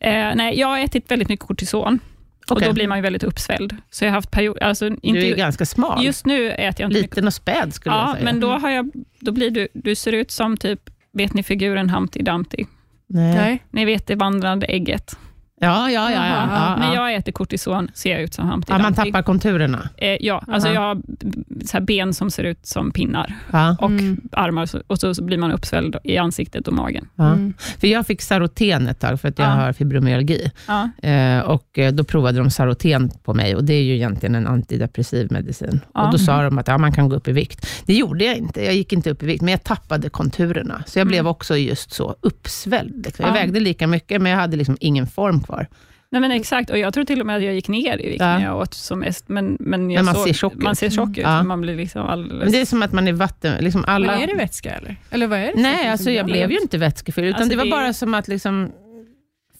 Speaker 3: Eh, nej, jag har ätit väldigt mycket kortison och
Speaker 2: Okej.
Speaker 3: då blir man ju väldigt uppsvälld. Så jag har haft period, alltså inte,
Speaker 2: Du är ganska smal.
Speaker 3: just nu äter jag inte mycket.
Speaker 2: Liten och späd skulle jag
Speaker 3: Ja,
Speaker 2: säga. Mm.
Speaker 3: men då, har jag, då blir du, du ser ut som typ, vet ni figuren Humpty Dumpty?
Speaker 2: Nej.
Speaker 1: Nej.
Speaker 3: Ni vet det vandrande ägget.
Speaker 2: Ja, ja, ja. ja,
Speaker 1: Jaha,
Speaker 2: ja,
Speaker 3: När
Speaker 2: ja.
Speaker 3: jag äter kortison ser jag ut som Humpty
Speaker 2: ja man
Speaker 3: Dumpty.
Speaker 2: tappar konturerna.
Speaker 3: Eh, ja, alltså
Speaker 1: Aha.
Speaker 3: jag har b- så här ben som ser ut som pinnar
Speaker 2: Ja,
Speaker 3: och
Speaker 1: Mm.
Speaker 3: armar och så, och så blir man uppsvälld i ansiktet och magen.
Speaker 2: ja.
Speaker 1: Mm.
Speaker 2: För jag fick Saroten ett tag för att jag
Speaker 3: Ja.
Speaker 2: har fibromyalgi.
Speaker 3: Ja.
Speaker 2: Eh, och eh, då provade de Saroten på mig och det är ju egentligen en antidepressiv medicin.
Speaker 3: Ja.
Speaker 2: Och då sa de att ja, man kan gå upp i vikt. Det gjorde jag inte. Jag gick inte upp i vikt, men jag tappade konturerna. Så jag
Speaker 3: Mm.
Speaker 2: blev också just så uppsvälld. Liksom. Jag
Speaker 3: Ja.
Speaker 2: vägde lika mycket, men jag hade liksom ingen form kvar.
Speaker 3: Nej, men exakt, och jag tror till och med att jag gick ner i vikt
Speaker 2: Ja.
Speaker 3: när jag åt som mest, men, men, jag
Speaker 2: Men man
Speaker 3: såg,
Speaker 2: ser tjock ut. Mm.
Speaker 3: man ser tjock ut.
Speaker 2: Ja.
Speaker 3: Man blir liksom
Speaker 2: Men
Speaker 3: alldeles...
Speaker 2: det är som att man är vatten... Liksom alla...
Speaker 1: Men är det vätska eller? Eller vad är det?
Speaker 2: Nej, alltså jag blev ju inte vätskefylld, utan
Speaker 3: Alltså,
Speaker 2: det var
Speaker 3: det är-
Speaker 2: bara som att liksom,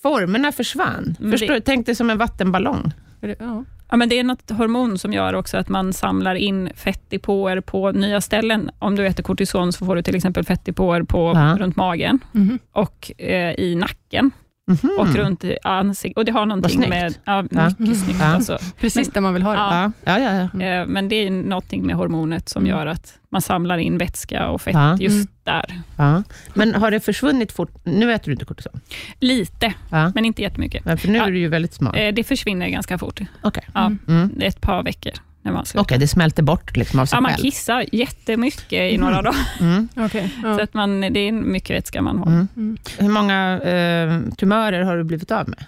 Speaker 2: formerna försvann.
Speaker 3: det-
Speaker 2: Förstår du? Tänk dig som en vattenballong.
Speaker 1: inte... Ja.
Speaker 3: Ja, men det är något hormon som gör också att man samlar in fettdepåer på nya ställen. Om du äter kortison så får du till exempel fettdepåer på,
Speaker 2: Ja.
Speaker 3: runt magen
Speaker 1: Mhm.
Speaker 3: och eh, i nacken
Speaker 2: Mhm.
Speaker 3: och runt i ansiktet. Och det har någonting
Speaker 2: snyggt.
Speaker 3: med... Ja, mycket snyggt
Speaker 2: Ja.
Speaker 3: alltså.
Speaker 1: Precis där man vill ha det.
Speaker 3: Ja.
Speaker 2: Ja, ja, ja. ja.
Speaker 3: Eh, Men det är någonting med hormonet som
Speaker 1: Mm.
Speaker 3: gör att man samlar in vätska och fett
Speaker 2: Ja.
Speaker 3: just
Speaker 1: Mm.
Speaker 3: där.
Speaker 2: ja. Men har det försvunnit fort? Nu äter du inte kortison,
Speaker 3: Lite,
Speaker 2: Ja.
Speaker 3: men inte jättemycket.
Speaker 2: men för nu
Speaker 3: Ja.
Speaker 2: är du ju väldigt smal.
Speaker 3: Eh, Det försvinner ganska fort.
Speaker 2: Okej.
Speaker 3: Ja,
Speaker 2: Mm.
Speaker 3: det är ett par veckor. När man slutar.
Speaker 2: Okej, det smälter bort liksom av sig
Speaker 3: Ja, man
Speaker 2: själv.
Speaker 3: kissar jättemycket i några dagar,
Speaker 2: Mm.
Speaker 1: Okej. Ja.
Speaker 3: så att man, det är mycket vätska man har.
Speaker 2: Mm.
Speaker 1: Mm.
Speaker 2: Hur många eh, tumörer har du blivit av med?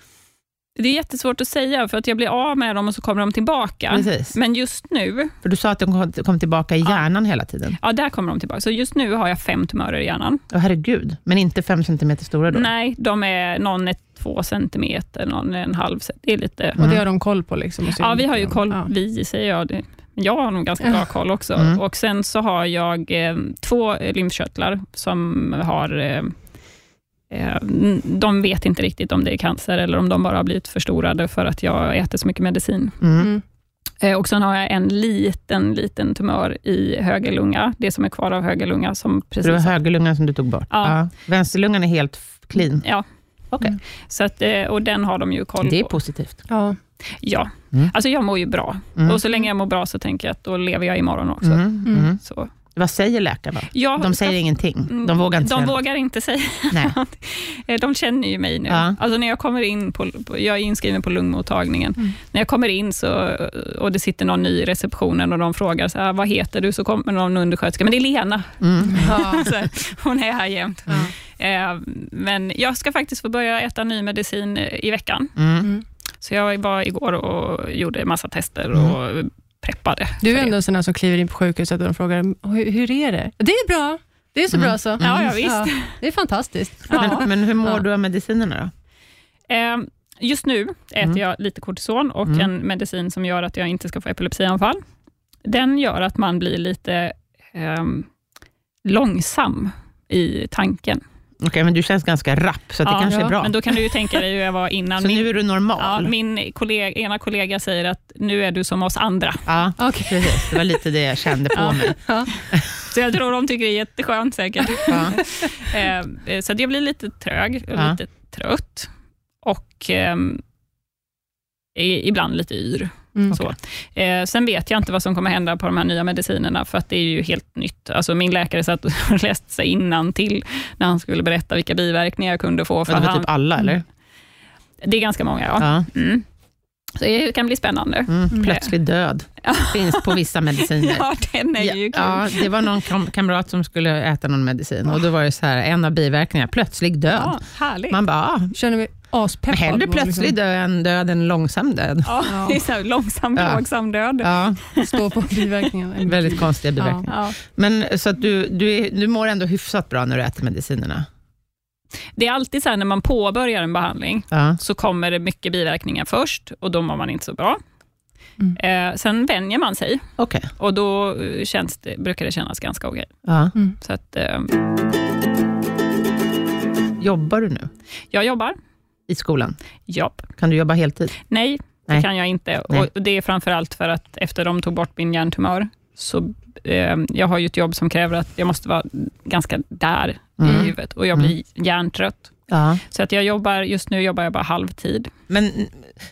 Speaker 3: Det är jättesvårt att säga, för att jag blir av med dem och så kommer de tillbaka.
Speaker 2: Precis.
Speaker 3: Men just nu,
Speaker 2: För du sa att de kom- kom tillbaka i
Speaker 3: Mm. Ja.
Speaker 2: hjärnan hela tiden.
Speaker 3: ja där kommer de tillbaka. Så just nu har jag fem tumörer i hjärnan.
Speaker 2: Åh herregud, men inte fem centimeter stora då?
Speaker 3: Nej, de är, någon är två centimeter, någon är en halv centimeter. Det är lite...
Speaker 1: Och det
Speaker 2: Mm.
Speaker 1: har de koll på? Liksom, och så-
Speaker 3: Ja, vi har ju koll. Mm.
Speaker 1: Ja.
Speaker 3: Vi, säger jag. Det- men Jag har nog ganska
Speaker 1: Ja.
Speaker 3: bra koll också.
Speaker 2: Mm.
Speaker 3: Och Sen så har jag eh, två eh, lymfkörtlar som har... Eh, eh, n- de vet inte riktigt om det är cancer eller om de bara har blivit förstorade för att jag äter så mycket medicin.
Speaker 2: Mm.
Speaker 1: Mm.
Speaker 3: Eh, och Sen har jag en liten, liten tumör i höger lunga, det som är kvar av höger lunga. Som
Speaker 2: För det var
Speaker 3: precis,
Speaker 2: högerlungan som du tog bort?
Speaker 3: Ja.
Speaker 2: Vänsterlungan är helt f- clean?
Speaker 3: ja.
Speaker 2: Okej.
Speaker 3: så att, eh, och den har de ju koll
Speaker 2: Det är
Speaker 3: på.
Speaker 2: positivt.
Speaker 1: Ja.
Speaker 3: Ja.
Speaker 2: Mm.
Speaker 3: Alltså jag mår ju bra.
Speaker 2: Mm.
Speaker 3: Och så länge jag mår bra så tänker jag att då lever jag imorgon också.
Speaker 2: Mm.
Speaker 1: Mm.
Speaker 2: Mm.
Speaker 3: Så.
Speaker 2: Vad säger läkarna?
Speaker 3: Jag
Speaker 2: De
Speaker 3: ska
Speaker 2: säger ingenting. De vågar inte
Speaker 3: Mm. de
Speaker 2: säga något.
Speaker 3: vågar inte säga
Speaker 2: Nej.
Speaker 3: Eh, De känner ju mig nu.
Speaker 2: Ja.
Speaker 3: Alltså när jag kommer in, på, på- jag är inskriven på lungmottagningen.
Speaker 1: Mm.
Speaker 3: När jag kommer in så, och det sitter någon ny i receptionen och de frågar så här, "Ah, vad heter du? Så kommer någon undersköterska, men det är Lena.
Speaker 2: Mm.
Speaker 1: Ja.
Speaker 3: Så, här, hon är här jämt.
Speaker 1: Ja.
Speaker 3: Eh, Men jag ska faktiskt få börja äta ny medicin eh, i veckan.
Speaker 2: Mm.
Speaker 3: Så jag var igår och gjorde massa tester
Speaker 2: Mm.
Speaker 3: och preppade.
Speaker 1: Du är
Speaker 3: för det.
Speaker 1: ändå en sån här som kliver in på sjukhuset och de frågar, hur, hur är det? Det är bra. Det är så
Speaker 2: Mm.
Speaker 1: bra så.
Speaker 3: Ja, ja, visst.
Speaker 1: det är fantastiskt. Ja.
Speaker 2: Men, men hur mår
Speaker 1: Ja.
Speaker 2: du av medicinerna då?
Speaker 3: Eh, Just nu äter
Speaker 2: Mm.
Speaker 3: jag lite kortison och
Speaker 2: Mm.
Speaker 3: en medicin som gör att jag inte ska få epilepsianfall. Den gör att man blir lite ehm, långsam i tanken.
Speaker 2: Okej, men du känns ganska rapp, så att
Speaker 3: Ja,
Speaker 2: det kanske
Speaker 1: ja.
Speaker 2: är bra.
Speaker 3: Men då kan du ju tänka dig hur jag var innan.
Speaker 2: så
Speaker 3: min
Speaker 2: nu är du
Speaker 3: ja,
Speaker 2: normal? Ja,
Speaker 3: min kollega, ena kollega säger att nu är du som oss andra.
Speaker 1: Okej.
Speaker 2: precis. Det var lite det jag kände på
Speaker 3: Ja.
Speaker 2: mig.
Speaker 1: Ja.
Speaker 3: Så jag tror de tycker det är jätteskönt säkert.
Speaker 2: Ja.
Speaker 3: Eh, eh, så att jag blir lite trög och
Speaker 2: Ja.
Speaker 3: lite trött. Och ehm, i, ibland lite yr.
Speaker 1: Mm.
Speaker 3: Så. Eh, sen vet jag inte vad som kommer hända på de här nya medicinerna, för att det är ju helt nytt. Alltså min läkare satt och läste sig innan till när han skulle berätta vilka biverkningar jag kunde få. För
Speaker 2: Men det var
Speaker 3: han,
Speaker 2: typ alla, eller?
Speaker 3: Det är ganska många, ja.
Speaker 2: Ja.
Speaker 3: Mm. Så det kan bli spännande.
Speaker 2: Mm, plötslig död
Speaker 3: Ja.
Speaker 2: finns på vissa mediciner.
Speaker 3: Ja, den är ju kul.
Speaker 2: ja, det var någon kam- kamrat som skulle äta någon medicin och då var det så här, en av biverkningarna, plötslig död.
Speaker 3: Ja, liksom." härligt.
Speaker 2: Man bara, ah,
Speaker 1: Känner mig aspeppad.
Speaker 2: hellre
Speaker 1: på att liksom-
Speaker 2: plötslig död än död än långsam död.
Speaker 3: Ja, det är så här långsam,
Speaker 2: Ja.
Speaker 3: plågsam död.
Speaker 2: Ja,
Speaker 1: Liksom stå på biverkningen.
Speaker 2: väldigt konstiga biverkningar.
Speaker 3: Ja.
Speaker 2: Men så att du, du, är, du mår ändå hyfsat bra när du äter medicinerna?
Speaker 3: Det är alltid så här när man påbörjar en behandling,
Speaker 2: Ja.
Speaker 3: så kommer det mycket biverkningar först och då mår man inte så bra.
Speaker 1: Mm.
Speaker 3: Eh, sen vänjer man sig
Speaker 2: Okej.
Speaker 3: och då eh, känns det, brukar det kännas ganska okej.
Speaker 2: Ja.
Speaker 1: Mm.
Speaker 3: Så att, eh,
Speaker 2: Jobbar du nu
Speaker 3: jag jobbar,
Speaker 2: i skolan?
Speaker 3: ja.
Speaker 2: Kan du jobba heltid?
Speaker 3: Nej, det
Speaker 2: Nej.
Speaker 3: kan jag inte.
Speaker 2: Nej.
Speaker 3: Och det är framförallt för att efter de tog bort min hjärntumör, så eh, jag har ju ett jobb som kräver att jag måste vara ganska där i
Speaker 2: Mm.
Speaker 3: huvudet och jag blir hjärntrött.
Speaker 2: Ja.
Speaker 3: Så att jag jobbar, just nu jobbar jag bara halvtid.
Speaker 2: Men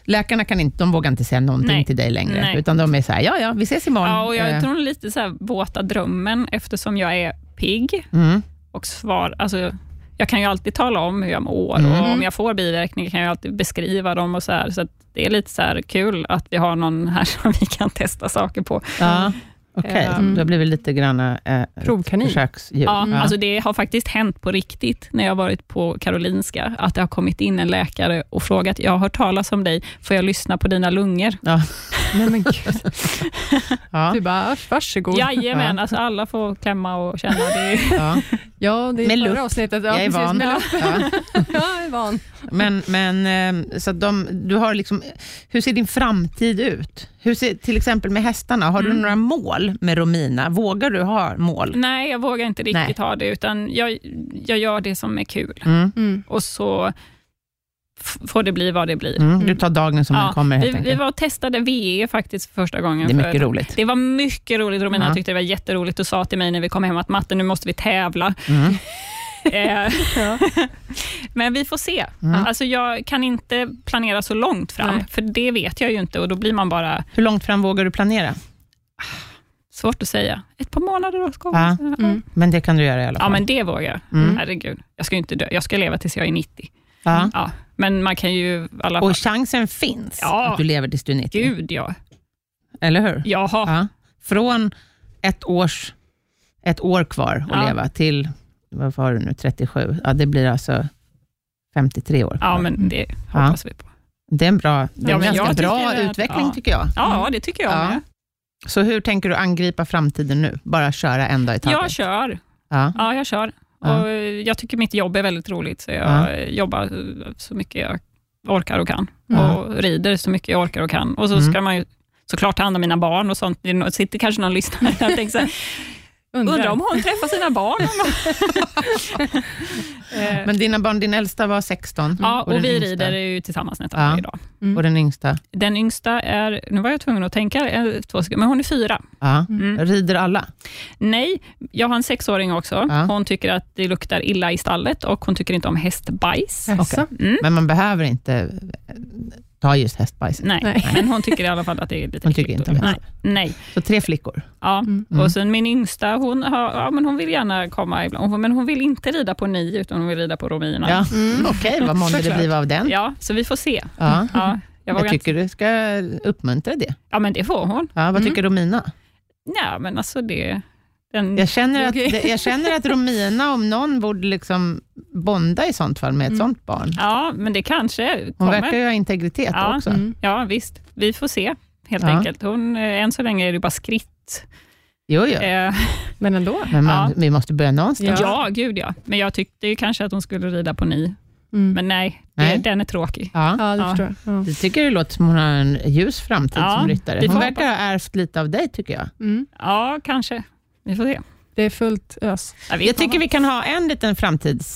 Speaker 2: läkarna kan inte, de vågar inte säga någonting
Speaker 3: Nej.
Speaker 2: till dig längre,
Speaker 3: Nej.
Speaker 2: utan de är så här, ja, ja, vi ses imorgon.
Speaker 3: Ja, och
Speaker 2: Eh,
Speaker 3: jag tror lite så här våta drömmen, eftersom jag är pigg.
Speaker 2: mm.
Speaker 3: och svar. Alltså, jag kan ju alltid tala om hur jag mår och
Speaker 2: Mm.
Speaker 3: om jag får biverkningar kan jag alltid beskriva dem. och så här. Så att det är lite så här kul att vi har någon här som vi kan testa saker på.
Speaker 2: Ja, okej.
Speaker 3: Mm.
Speaker 2: Du har blivit lite grann eh,
Speaker 1: Provkanin.
Speaker 2: försöksdjur.
Speaker 3: Ja, Alltså det har faktiskt hänt på riktigt när jag har varit på Karolinska, att det har kommit in en läkare och frågat, jag har hört talas om dig, får jag lyssna på dina lungor?
Speaker 1: Nej men gud.
Speaker 2: Ja,
Speaker 1: Du bara, "Ars, varsågod.
Speaker 3: Jajamän,
Speaker 2: Ja.
Speaker 3: alltså alla får klämma och känna. Det.
Speaker 2: ja.
Speaker 1: Ja, det är
Speaker 2: Med
Speaker 1: förra
Speaker 2: lupp.
Speaker 1: avsnittet. Ja,
Speaker 2: Jag är
Speaker 1: precis,
Speaker 2: van.
Speaker 1: Med lupp.
Speaker 2: Ja.
Speaker 1: Jag är van.
Speaker 2: Men, men eh, så att de, du har liksom, hur ser din framtid ut? Hur ser, till exempel med hästarna, har
Speaker 3: Mm.
Speaker 2: du några mål med Romina? Vågar du ha mål?
Speaker 3: Nej, jag vågar inte riktigt ha det, utan jag, jag gör det som är kul
Speaker 2: Mm.
Speaker 1: Mm.
Speaker 3: och så f- får det bli vad det blir.
Speaker 2: Mm. Du tar dagen som den kommer helt
Speaker 3: vi, vi
Speaker 2: enkelt.
Speaker 3: var och testade VE faktiskt för första gången.
Speaker 2: Det är
Speaker 3: för,
Speaker 2: mycket roligt.
Speaker 3: det var mycket roligt. Romina
Speaker 2: Ja.
Speaker 3: tyckte det var jätteroligt och sa till mig när vi kom hem att Matte, nu måste vi tävla.
Speaker 2: Mm.
Speaker 3: Eh,
Speaker 1: Ja.
Speaker 3: Men vi får se.
Speaker 2: Mm.
Speaker 3: Alltså, jag kan inte planera så långt fram,
Speaker 1: Nej.
Speaker 3: för det vet jag ju inte och då blir man bara,
Speaker 2: Hur långt fram vågar du planera?
Speaker 3: svårt att säga, ett par månader då ska
Speaker 2: Ja.
Speaker 3: vi-
Speaker 1: Mm.
Speaker 2: Men det kan du göra i alla
Speaker 3: Ja,
Speaker 2: fall.
Speaker 3: men det vågar jag.
Speaker 2: Mm.
Speaker 3: Herregud, jag ska ju inte dö. Jag ska leva tills jag är 90.
Speaker 2: Ja.
Speaker 3: Ja. Men man kan ju i alla fall...
Speaker 2: Och chansen finns
Speaker 3: Ja.
Speaker 2: att du lever tills du är 90.
Speaker 3: Gud ja.
Speaker 2: Eller hur?
Speaker 3: Jaha.
Speaker 2: Ja. Från ett, års, ett år kvar att
Speaker 3: Ja.
Speaker 2: leva till, vad var du nu, 37? Ja, det blir alltså 53 år.
Speaker 3: Ja,
Speaker 2: kvar.
Speaker 3: men det hoppas vi på.
Speaker 2: Det är en bra, det är
Speaker 3: Ja,
Speaker 2: en
Speaker 3: men
Speaker 2: ganska
Speaker 3: jag tycker
Speaker 2: bra
Speaker 3: att-
Speaker 2: utveckling
Speaker 3: ja.
Speaker 2: tycker jag.
Speaker 3: Ja, det tycker jag
Speaker 2: Mm. Ja.
Speaker 3: med.
Speaker 2: Så hur tänker du angripa framtiden nu? Bara köra en dag i taget?
Speaker 3: Jag kör.
Speaker 2: Ja.
Speaker 3: Ja, jag kör.
Speaker 2: Ja.
Speaker 3: Och eh, jag tycker mitt jobb är väldigt roligt, så jag
Speaker 2: Ja.
Speaker 3: eh, jobbar eh, så mycket jag orkar och kan.
Speaker 2: Ja.
Speaker 1: Mm.
Speaker 3: Och rider så mycket jag orkar och kan. Och så ska
Speaker 2: Mm.
Speaker 3: man ju såklart ta hand om mina barn och sånt. Det är nå- sitter kanske någon lyssnare där och tänker så här, undrar om hon träffar sina barn. Eh,
Speaker 2: Men dina barn, din äldsta var 16
Speaker 3: ja, och
Speaker 2: den
Speaker 3: vi
Speaker 2: yngsta-
Speaker 3: rider ju tillsammans nästan
Speaker 2: Ja.
Speaker 3: varje dag.
Speaker 1: Mm.
Speaker 2: Och den yngsta?
Speaker 3: Den yngsta är, nu var jag tvungen att tänka eh, två sekunder, men hon är fyra.
Speaker 2: Ja.
Speaker 3: Mm.
Speaker 2: Rider alla?
Speaker 3: Nej, jag har en sexåring också.
Speaker 2: Ja.
Speaker 3: Hon tycker att det luktar illa i stallet och hon tycker inte om hästbajs. Mm.
Speaker 1: Jaså?
Speaker 2: Okej. Men man behöver inte eh, ta just hästbajs.
Speaker 3: Nej,
Speaker 1: Nej.
Speaker 3: men hon tycker i alla fall att det är lite
Speaker 2: Hon tycker
Speaker 3: äckligt.
Speaker 2: inte om
Speaker 3: Nej. Nej.
Speaker 2: Så tre flickor.
Speaker 3: Ja.
Speaker 2: Mm.
Speaker 3: Och sen min yngsta, hon, har, ja, men hon vill gärna komma ibland, Hon- men hon vill inte rida på ni, utan hon vill rida på Romina.
Speaker 2: Ja. Okej, vad månde det
Speaker 1: Såklart.
Speaker 2: bliva av den?
Speaker 3: Mm. Ja, så vi får se.
Speaker 2: Ja.
Speaker 3: Ja, jag
Speaker 2: Jag,
Speaker 3: vågar inte.
Speaker 2: tycker
Speaker 3: Mm.
Speaker 2: du ska uppmuntra det.
Speaker 3: ja, men det får hon.
Speaker 2: Ja, vad tycker Romina?
Speaker 3: Nej, men alltså det... Den,
Speaker 2: Jag känner, att,
Speaker 1: Okej.
Speaker 2: det- jag känner att Romina om någon borde liksom bonda i sånt fall med ett sånt barn.
Speaker 3: Ja, men det kanske
Speaker 2: Hon
Speaker 3: Mm. kommer.
Speaker 2: verkar ju ha integritet
Speaker 3: Ja.
Speaker 2: också.
Speaker 1: Mm.
Speaker 3: Ja, visst. Vi får se, helt
Speaker 2: Ja.
Speaker 3: enkelt. Hon, eh, än så länge är det bara skritt.
Speaker 2: Jo, jo.
Speaker 3: Eh,
Speaker 1: Men ändå.
Speaker 2: Men man,
Speaker 3: ja.
Speaker 2: vi måste börja någonstans.
Speaker 3: ja.
Speaker 1: Ja.
Speaker 3: gud ja. Men jag tyckte ju kanske att hon skulle rida på ni,
Speaker 1: Mm.
Speaker 3: men nej,
Speaker 2: Nej.
Speaker 3: Det, den är tråkig.
Speaker 2: Ja.
Speaker 1: ja, det
Speaker 3: Ja.
Speaker 1: förstår jag. Ja.
Speaker 2: Jag tycker det låter som hon har en ljus framtid
Speaker 3: Ja,
Speaker 2: som
Speaker 3: vi
Speaker 2: ryttare.
Speaker 3: får
Speaker 2: Hon
Speaker 3: hoppas.
Speaker 2: verkar ha ärvt lite av dig, tycker jag.
Speaker 1: Mm.
Speaker 3: Ja, kanske. Vi får se.
Speaker 1: Det är fullt ös.
Speaker 3: Jag, vet
Speaker 2: Jag tycker
Speaker 3: inte.
Speaker 2: vi kan ha en liten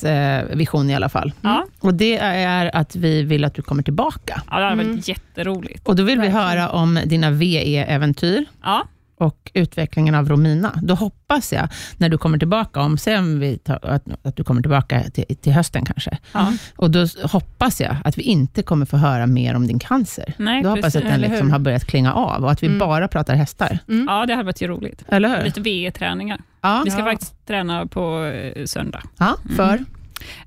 Speaker 2: framtidsvision i alla fall.
Speaker 3: Ja.
Speaker 2: Och Det är att vi vill att du kommer tillbaka.
Speaker 3: Ja, det hade varit
Speaker 1: Mm.
Speaker 3: jätteroligt.
Speaker 2: Och Då vill vi
Speaker 1: Verkligen.
Speaker 2: höra om dina VE-äventyr.
Speaker 3: Ja,
Speaker 2: och utvecklingen av Romina. Då hoppas jag, när du kommer tillbaka, om sen vi tar, att, att du kommer tillbaka till, till hösten kanske,
Speaker 3: ja.
Speaker 2: och då s- hoppas jag att vi inte kommer få höra mer om din cancer.
Speaker 3: Nej,
Speaker 2: Då hoppas jag
Speaker 3: precis.
Speaker 2: att den
Speaker 1: eller
Speaker 2: liksom
Speaker 1: hur?
Speaker 2: har börjat klinga av och att vi
Speaker 1: Mm.
Speaker 2: bara pratar hästar.
Speaker 3: Ja, det hade varit ju roligt.
Speaker 2: Eller hur?
Speaker 3: Lite VE-träningar.
Speaker 2: Mm. Ja,
Speaker 3: Vi ska
Speaker 1: Ja.
Speaker 3: faktiskt träna på eh, söndag.
Speaker 2: ja för?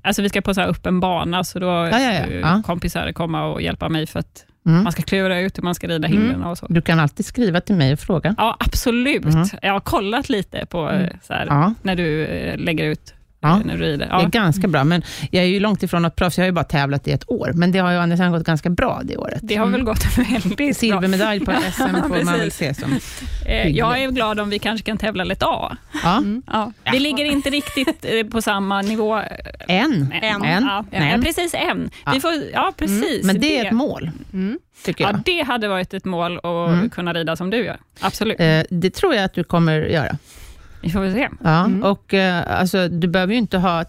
Speaker 3: Alltså vi ska på så här öppen bana, så då
Speaker 2: ja, ja.
Speaker 3: eh,
Speaker 2: Ja.
Speaker 3: kompisar komma och hjälpa mig för att
Speaker 2: Mm.
Speaker 3: Man ska klura ut hur man ska rida
Speaker 1: Mm.
Speaker 3: hindren och så.
Speaker 2: Du kan alltid skriva till mig och fråga.
Speaker 3: Ja, absolut.
Speaker 2: Mm.
Speaker 3: Jag har kollat lite på eh, så här,
Speaker 2: Ja,
Speaker 3: när du eh, lägger ut
Speaker 2: Ja.
Speaker 3: eh, när du rider.
Speaker 2: det är
Speaker 3: Ja.
Speaker 2: ganska bra. Men jag är ju långt ifrån något proffs. Jag har ju bara tävlat i ett år. Men det har ju å andra sidan gått ganska bra det året.
Speaker 3: Det har väl gått väldigt bra.
Speaker 2: Silvermedalj på SM får man väl
Speaker 3: precis.
Speaker 2: se som.
Speaker 3: Eh, Jag är glad om vi kanske kan tävla lite A.
Speaker 2: Ja,
Speaker 1: Mm.
Speaker 3: Ja. Vi ligger inte riktigt eh, på samma nivå.
Speaker 2: en.
Speaker 3: En.
Speaker 2: En.
Speaker 3: Ja,
Speaker 2: En.
Speaker 3: Ja, precis en.
Speaker 2: Ja. Mm.
Speaker 3: Vi får, ja, precis.
Speaker 2: Men det är ett mål,
Speaker 1: Mm.
Speaker 2: tycker jag.
Speaker 3: Ja, det hade varit ett mål att
Speaker 2: Mm.
Speaker 3: kunna rida som du gör. Absolut.
Speaker 2: Eh, Det tror jag att du kommer göra.
Speaker 3: Vi får väl se.
Speaker 2: Ja,
Speaker 1: Mm.
Speaker 2: och eh, alltså, du behöver ju inte ha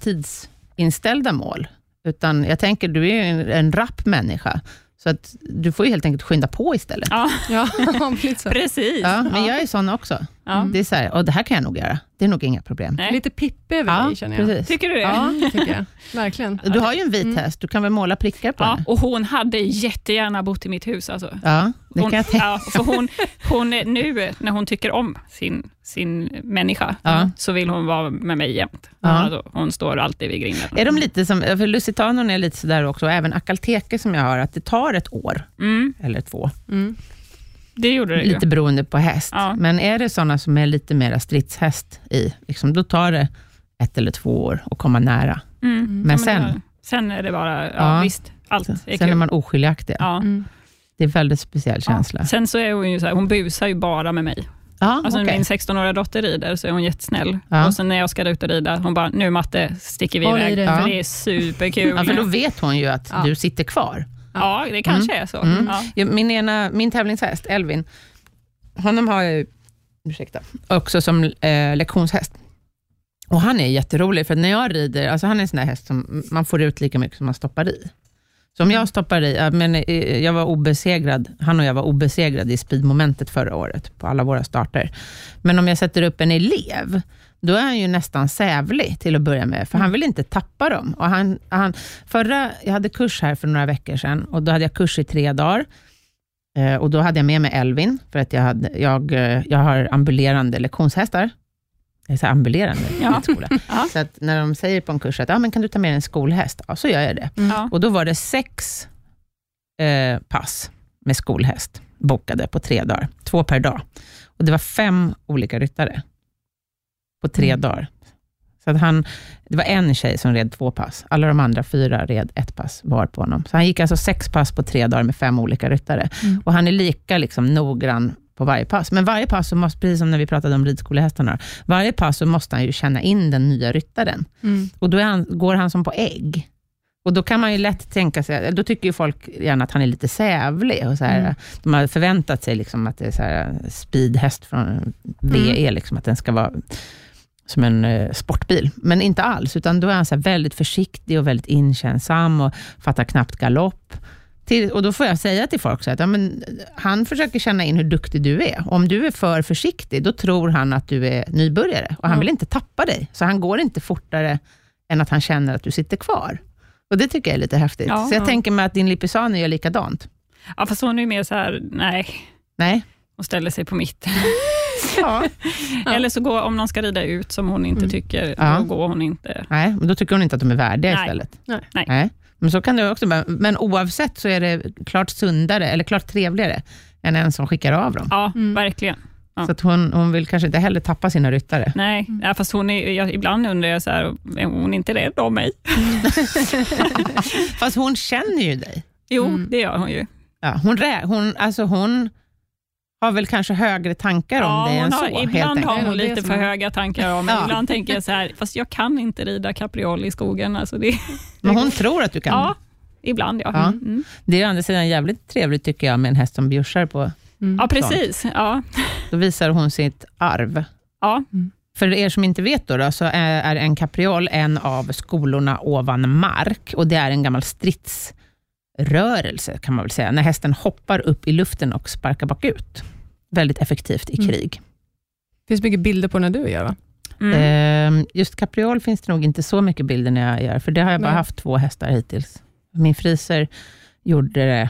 Speaker 2: tidsinställda mål, utan jag tänker, du är ju en, en rapp människa, så att du får ju helt enkelt skynda på istället.
Speaker 3: Ja,
Speaker 1: Ja, lite så.
Speaker 3: precis.
Speaker 2: Ja, Mm. men
Speaker 3: Ja. Mm.
Speaker 2: jag är sån också.
Speaker 3: Ja.
Speaker 2: Det är så här, och det här kan jag nog göra. Det är nog inga problem.
Speaker 3: Nej.
Speaker 1: Lite pippig över
Speaker 2: Ja,
Speaker 1: dig känner jag.
Speaker 2: precis.
Speaker 3: Tycker du det?
Speaker 1: Ja, det tycker jag. Verkligen.
Speaker 2: Du har ju en vit häst, du kan väl måla prickar på
Speaker 3: Mm. Ja,
Speaker 2: henne?
Speaker 3: och hon hade jättegärna bott i mitt hus. Alltså.
Speaker 2: Ja, det
Speaker 3: Hon,
Speaker 2: kan jag tänka
Speaker 3: ja, för hon, hon är nu när hon tycker om sin, sin människa,
Speaker 2: Ja.
Speaker 3: så vill hon vara med mig jämt.
Speaker 2: Ja.
Speaker 3: Alltså, hon står alltid vid grinden.
Speaker 2: Är de lite som, för Lusitanon är lite sådär också, och även Akalteke som jag har, att det tar ett år
Speaker 3: Mm,
Speaker 2: eller två,
Speaker 1: Mm.
Speaker 3: det gjorde det ju.
Speaker 2: lite beroende på häst.
Speaker 3: Ja.
Speaker 2: Men är det sådana som är lite mera stridshäst i, liksom, då tar det ett eller två år att komma nära.
Speaker 3: Mm.
Speaker 2: Men
Speaker 3: Ja,
Speaker 2: sen-
Speaker 3: det var- sen är det bara, ja,
Speaker 2: Ja.
Speaker 3: visst, allt är
Speaker 2: Sen är
Speaker 3: kul.
Speaker 2: man oskiljaktig.
Speaker 3: Ja.
Speaker 1: Mm.
Speaker 2: Det är en väldigt speciell känsla.
Speaker 3: Ja. Sen så är hon ju så här, hon busar ju bara med mig.
Speaker 2: Ja,
Speaker 3: Alltså när
Speaker 2: okej.
Speaker 3: min 16-åriga dotter rider så är hon jättesnäll.
Speaker 2: Ja.
Speaker 3: Och sen när jag ska ut och rida, hon bara, nu Matte sticker vi
Speaker 1: Håll i
Speaker 3: iväg.
Speaker 1: dig.
Speaker 3: För
Speaker 2: Ja.
Speaker 3: Det är superkul.
Speaker 2: ja, för då vet hon ju att
Speaker 1: Ja.
Speaker 2: du sitter kvar.
Speaker 3: Ja, det kanske är så.
Speaker 2: Mm.
Speaker 3: Ja.
Speaker 2: Ja, Min, ena, min tävlingshäst, Elvin, honom har jag ju, ursäkta, också som eh, lektionshäst. Och han är jätterolig, för när jag rider, alltså han är en sån där häst som man får ut lika mycket som man stoppar i. Så om jag stoppar i, jag, men, eh, jag var obesegrad, han och jag var obesegrade i speedmomentet förra året, på alla våra starter. Men om jag sätter upp en elev, då är han ju nästan sävlig till att börja med, för han vill inte tappa dem. Och han, han, förra, jag hade kurs här för några veckor sedan och då hade jag kurs i tre dagar. Eh, Och då hade jag med mig Elvin, för att jag, hade, jag, eh, jag har ambulerande lektionshästar. Jag säger ambulerande
Speaker 3: Ja.
Speaker 2: ja. skola.
Speaker 3: Ja.
Speaker 2: Så att när de säger på en kurs att ah, men kan du ta med dig en skolhäst, ja, så gör jag det.
Speaker 3: Ja.
Speaker 2: Och då var det sex eh, pass med skolhäst bokade på tre dagar, två per dag. Och det var fem olika ryttare på tre
Speaker 1: Mm.
Speaker 2: dagar. Så att han, det var en tjej som red två pass, alla de andra fyra red ett pass var på honom. Så han gick alltså sex pass på tre dagar med fem olika ryttare.
Speaker 1: Mm.
Speaker 2: Och han är lika liksom noggrann på varje pass. Men varje pass, så måste, precis som när vi pratade om ridskolehästarna, varje pass så måste han ju känna in den nya ryttaren.
Speaker 1: Mm.
Speaker 2: Och då är han, går han som på ägg. Och då kan man ju lätt tänka sig, då tycker ju folk gärna att han är lite sävlig. Och så här,
Speaker 1: Mm.
Speaker 2: De har förväntat sig liksom att det är så här speedhäst från VE, liksom, att den ska vara som en eh, sportbil. Men inte alls, utan då är han så här väldigt försiktig och väldigt inkänsam och fattar knappt galopp. Till, och då får jag säga till folk så här att ja, men, han försöker känna in hur duktig du är. Om du är för försiktig, då tror han att du är nybörjare och han
Speaker 1: Ja.
Speaker 2: vill inte tappa dig. Så han går inte fortare än att han känner att du sitter kvar. Och Det tycker jag är lite häftigt.
Speaker 3: Ja,
Speaker 2: så jag
Speaker 3: ja.
Speaker 2: tänker mig att din Lipisani gör likadant.
Speaker 3: ja, fast hon är ju mer så här, nej,
Speaker 2: Nej?
Speaker 3: hon ställer sig på mitt.
Speaker 2: Ja.
Speaker 3: Eller så går, om någon ska rida ut som hon inte
Speaker 1: Mm.
Speaker 3: tycker,
Speaker 2: Ja.
Speaker 3: då går hon inte.
Speaker 2: Nej, men då tycker hon inte att de är värdiga
Speaker 3: Nej.
Speaker 2: istället.
Speaker 1: Nej.
Speaker 3: Nej.
Speaker 2: Men så kan det också vara. Men oavsett så är det klart sundare, eller klart trevligare, än en som skickar av dem.
Speaker 3: Ja,
Speaker 1: Mm.
Speaker 3: verkligen. Ja.
Speaker 2: Så att hon, hon vill kanske inte heller tappa sina ryttare.
Speaker 3: Nej,
Speaker 1: Mm.
Speaker 3: ja, fast hon är, jag, ibland undrar jag så här, är hon inte rädd om mig?
Speaker 2: Fast hon känner ju dig.
Speaker 3: Jo,
Speaker 1: Mm.
Speaker 3: det gör hon ju.
Speaker 2: Ja, hon, rä- hon, alltså hon har väl kanske högre tankar om dig
Speaker 3: hon
Speaker 2: än
Speaker 3: har,
Speaker 2: så. helt
Speaker 3: ibland
Speaker 2: enkelt.
Speaker 3: har
Speaker 1: Ja,
Speaker 3: hon
Speaker 1: det är
Speaker 3: lite
Speaker 1: som
Speaker 3: för
Speaker 1: hon-
Speaker 3: höga tankar om mig.
Speaker 2: Ja.
Speaker 3: Ibland tänker jag så här, fast jag kan inte rida kapriol i skogen. Alltså det,
Speaker 2: Men hon tror att du kan.
Speaker 3: ja, ibland ja.
Speaker 2: Ja.
Speaker 3: Mm.
Speaker 2: Det är å andra sidan jävligt trevligt tycker jag med en häst som bjussar på.
Speaker 1: Mm.
Speaker 3: ja precis. Ja.
Speaker 2: Då visar hon sitt arv.
Speaker 3: Ja.
Speaker 2: För er som inte vet då, då så är är en kapriol en av skolorna ovan mark och det är en gammal stridsrörelse kan man väl säga, när hästen hoppar upp i luften och sparkar bakut. Väldigt effektivt i
Speaker 1: Mm.
Speaker 2: krig.
Speaker 1: Det finns mycket bilder på när du gör va?
Speaker 3: Mm.
Speaker 2: Ehm, Just kapriol finns det nog inte så mycket bilder när jag gör, för det har jag bara
Speaker 1: Nej.
Speaker 2: haft två hästar hittills. Min friser gjorde
Speaker 1: Ja,
Speaker 2: det,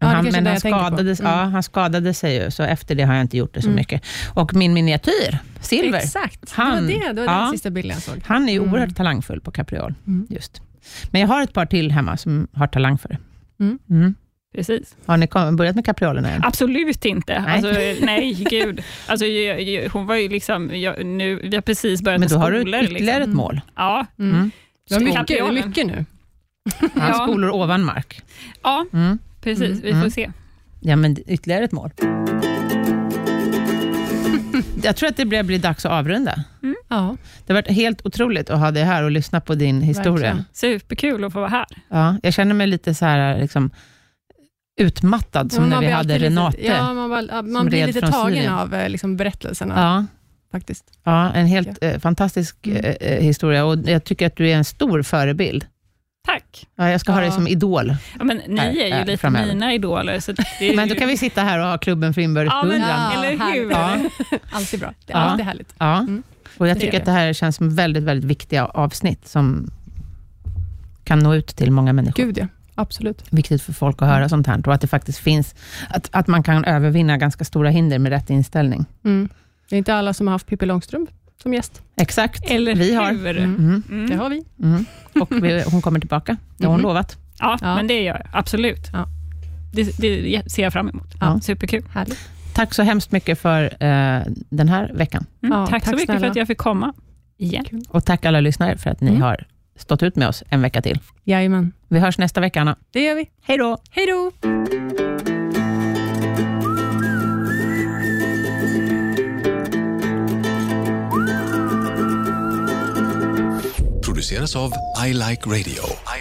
Speaker 2: men,
Speaker 1: det
Speaker 2: han,
Speaker 1: kanske är
Speaker 2: men
Speaker 1: det
Speaker 2: han,
Speaker 1: jag tänker på.
Speaker 2: skadades,
Speaker 1: Mm.
Speaker 2: ja, han skadade sig ju, så efter det har jag inte gjort det så
Speaker 1: Mm.
Speaker 2: mycket. Och min miniatyr, Silver,
Speaker 1: Exakt,
Speaker 2: Han-
Speaker 1: det var, det, det var
Speaker 2: ja.
Speaker 1: den sista bilden jag såg.
Speaker 2: han är ju
Speaker 1: Mm.
Speaker 2: oerhört talangfull på kapriol.
Speaker 1: Mm.
Speaker 2: Just. Men jag har ett par till hemma som har talang för det.
Speaker 1: Mm.
Speaker 3: Precis.
Speaker 2: Har ni kom- börjat med kapriolerna än?
Speaker 3: Absolut inte.
Speaker 2: Nej.
Speaker 3: Nej, alltså, nej gud. Alltså, jag, jag, hon var ju liksom, jag, nu, vi har precis börjat
Speaker 2: Men då
Speaker 3: med
Speaker 2: har
Speaker 3: skolor.
Speaker 2: du ytterligare
Speaker 1: liksom.
Speaker 2: ett mål.
Speaker 3: Ja,
Speaker 1: Mm.
Speaker 2: Mm.
Speaker 1: Det var mycket, det är
Speaker 3: Kapriolen.
Speaker 1: mycket nu.
Speaker 2: Ja.
Speaker 3: Ja.
Speaker 2: Skolor ovan mark.
Speaker 3: ja,
Speaker 2: Mm.
Speaker 3: precis.
Speaker 1: Mm,
Speaker 3: vi
Speaker 2: mm.
Speaker 3: får se.
Speaker 2: Ja, men ytterligare ett mål. Jag tror att det börjar bli dags att avrunda.
Speaker 1: Ja,
Speaker 2: Det har varit helt otroligt att ha dig här och lyssna på din historia.
Speaker 1: Verkligen.
Speaker 3: Superkul att få vara här.
Speaker 2: Ja, jag känner mig lite så här, liksom, utmattad som
Speaker 1: Men
Speaker 2: när
Speaker 1: Mm, man
Speaker 2: vi
Speaker 1: blir
Speaker 2: hade
Speaker 1: alltid lite-
Speaker 2: Renate.
Speaker 1: Ja, man, bara, ja, man
Speaker 2: som
Speaker 1: blir
Speaker 2: red
Speaker 1: lite
Speaker 2: från
Speaker 1: tagen
Speaker 2: Syrien.
Speaker 1: av eh, liksom, berättelserna
Speaker 2: Ja.
Speaker 1: faktiskt.
Speaker 2: Ja, en helt eh, fantastisk
Speaker 1: Mm.
Speaker 2: eh, eh, historia och jag tycker att du är en stor förebild.
Speaker 3: Tack.
Speaker 2: Ja, jag ska ha
Speaker 1: Ja.
Speaker 2: dig som idol.
Speaker 3: Ja, men ni
Speaker 2: Här,
Speaker 3: är ju
Speaker 2: här,
Speaker 3: lite
Speaker 2: framöver.
Speaker 3: mina idoler. Så det är
Speaker 2: Men
Speaker 3: ju-
Speaker 2: då kan vi sitta här och ha klubben för inbördes
Speaker 3: Ja, men-
Speaker 2: beundran.
Speaker 3: eller hur?
Speaker 1: härligt.
Speaker 2: Ja.
Speaker 1: Alltid bra. Det är
Speaker 2: Ja.
Speaker 1: alltid härligt.
Speaker 2: Ja.
Speaker 1: Mm.
Speaker 2: Och jag
Speaker 1: Det
Speaker 2: tycker
Speaker 1: är
Speaker 2: att det här känns som väldigt, väldigt viktiga avsnitt som kan nå ut till många människor.
Speaker 1: Gud ja, absolut.
Speaker 2: Viktigt för folk att
Speaker 1: Mm.
Speaker 2: höra sånt här och att det faktiskt finns, att, att man kan övervinna ganska stora hinder med rätt inställning.
Speaker 1: Mm. Det är inte alla som har haft Pippi Långstrump som gäst.
Speaker 2: Exakt.
Speaker 3: Eller
Speaker 2: vi har.
Speaker 3: hur?
Speaker 1: Mm.
Speaker 2: Mm,
Speaker 3: Mm.
Speaker 1: Det har vi.
Speaker 2: mm. Och vi, hon kommer tillbaka, det har hon
Speaker 1: Mhm.
Speaker 2: lovat.
Speaker 3: Ja,
Speaker 1: Ja.
Speaker 3: men det gör jag. Absolut.
Speaker 1: Ja.
Speaker 3: Det, det ser jag fram emot.
Speaker 2: Ja.
Speaker 3: Superkul.
Speaker 1: Härligt.
Speaker 2: Tack så hemskt mycket för eh, den här veckan.
Speaker 3: Mm.
Speaker 1: Ja,
Speaker 3: tack, så
Speaker 1: tack
Speaker 3: mycket för
Speaker 1: snälla.
Speaker 3: att jag fick komma. Igen.
Speaker 2: Och tack alla lyssnare för att ni
Speaker 1: Mm.
Speaker 2: har stått ut med oss en vecka till.
Speaker 1: Jajamän.
Speaker 2: Vi hörs nästa vecka, Anna.
Speaker 1: Det gör vi.
Speaker 2: Hej då!
Speaker 1: Hej då!
Speaker 4: produceras av I Like Radio.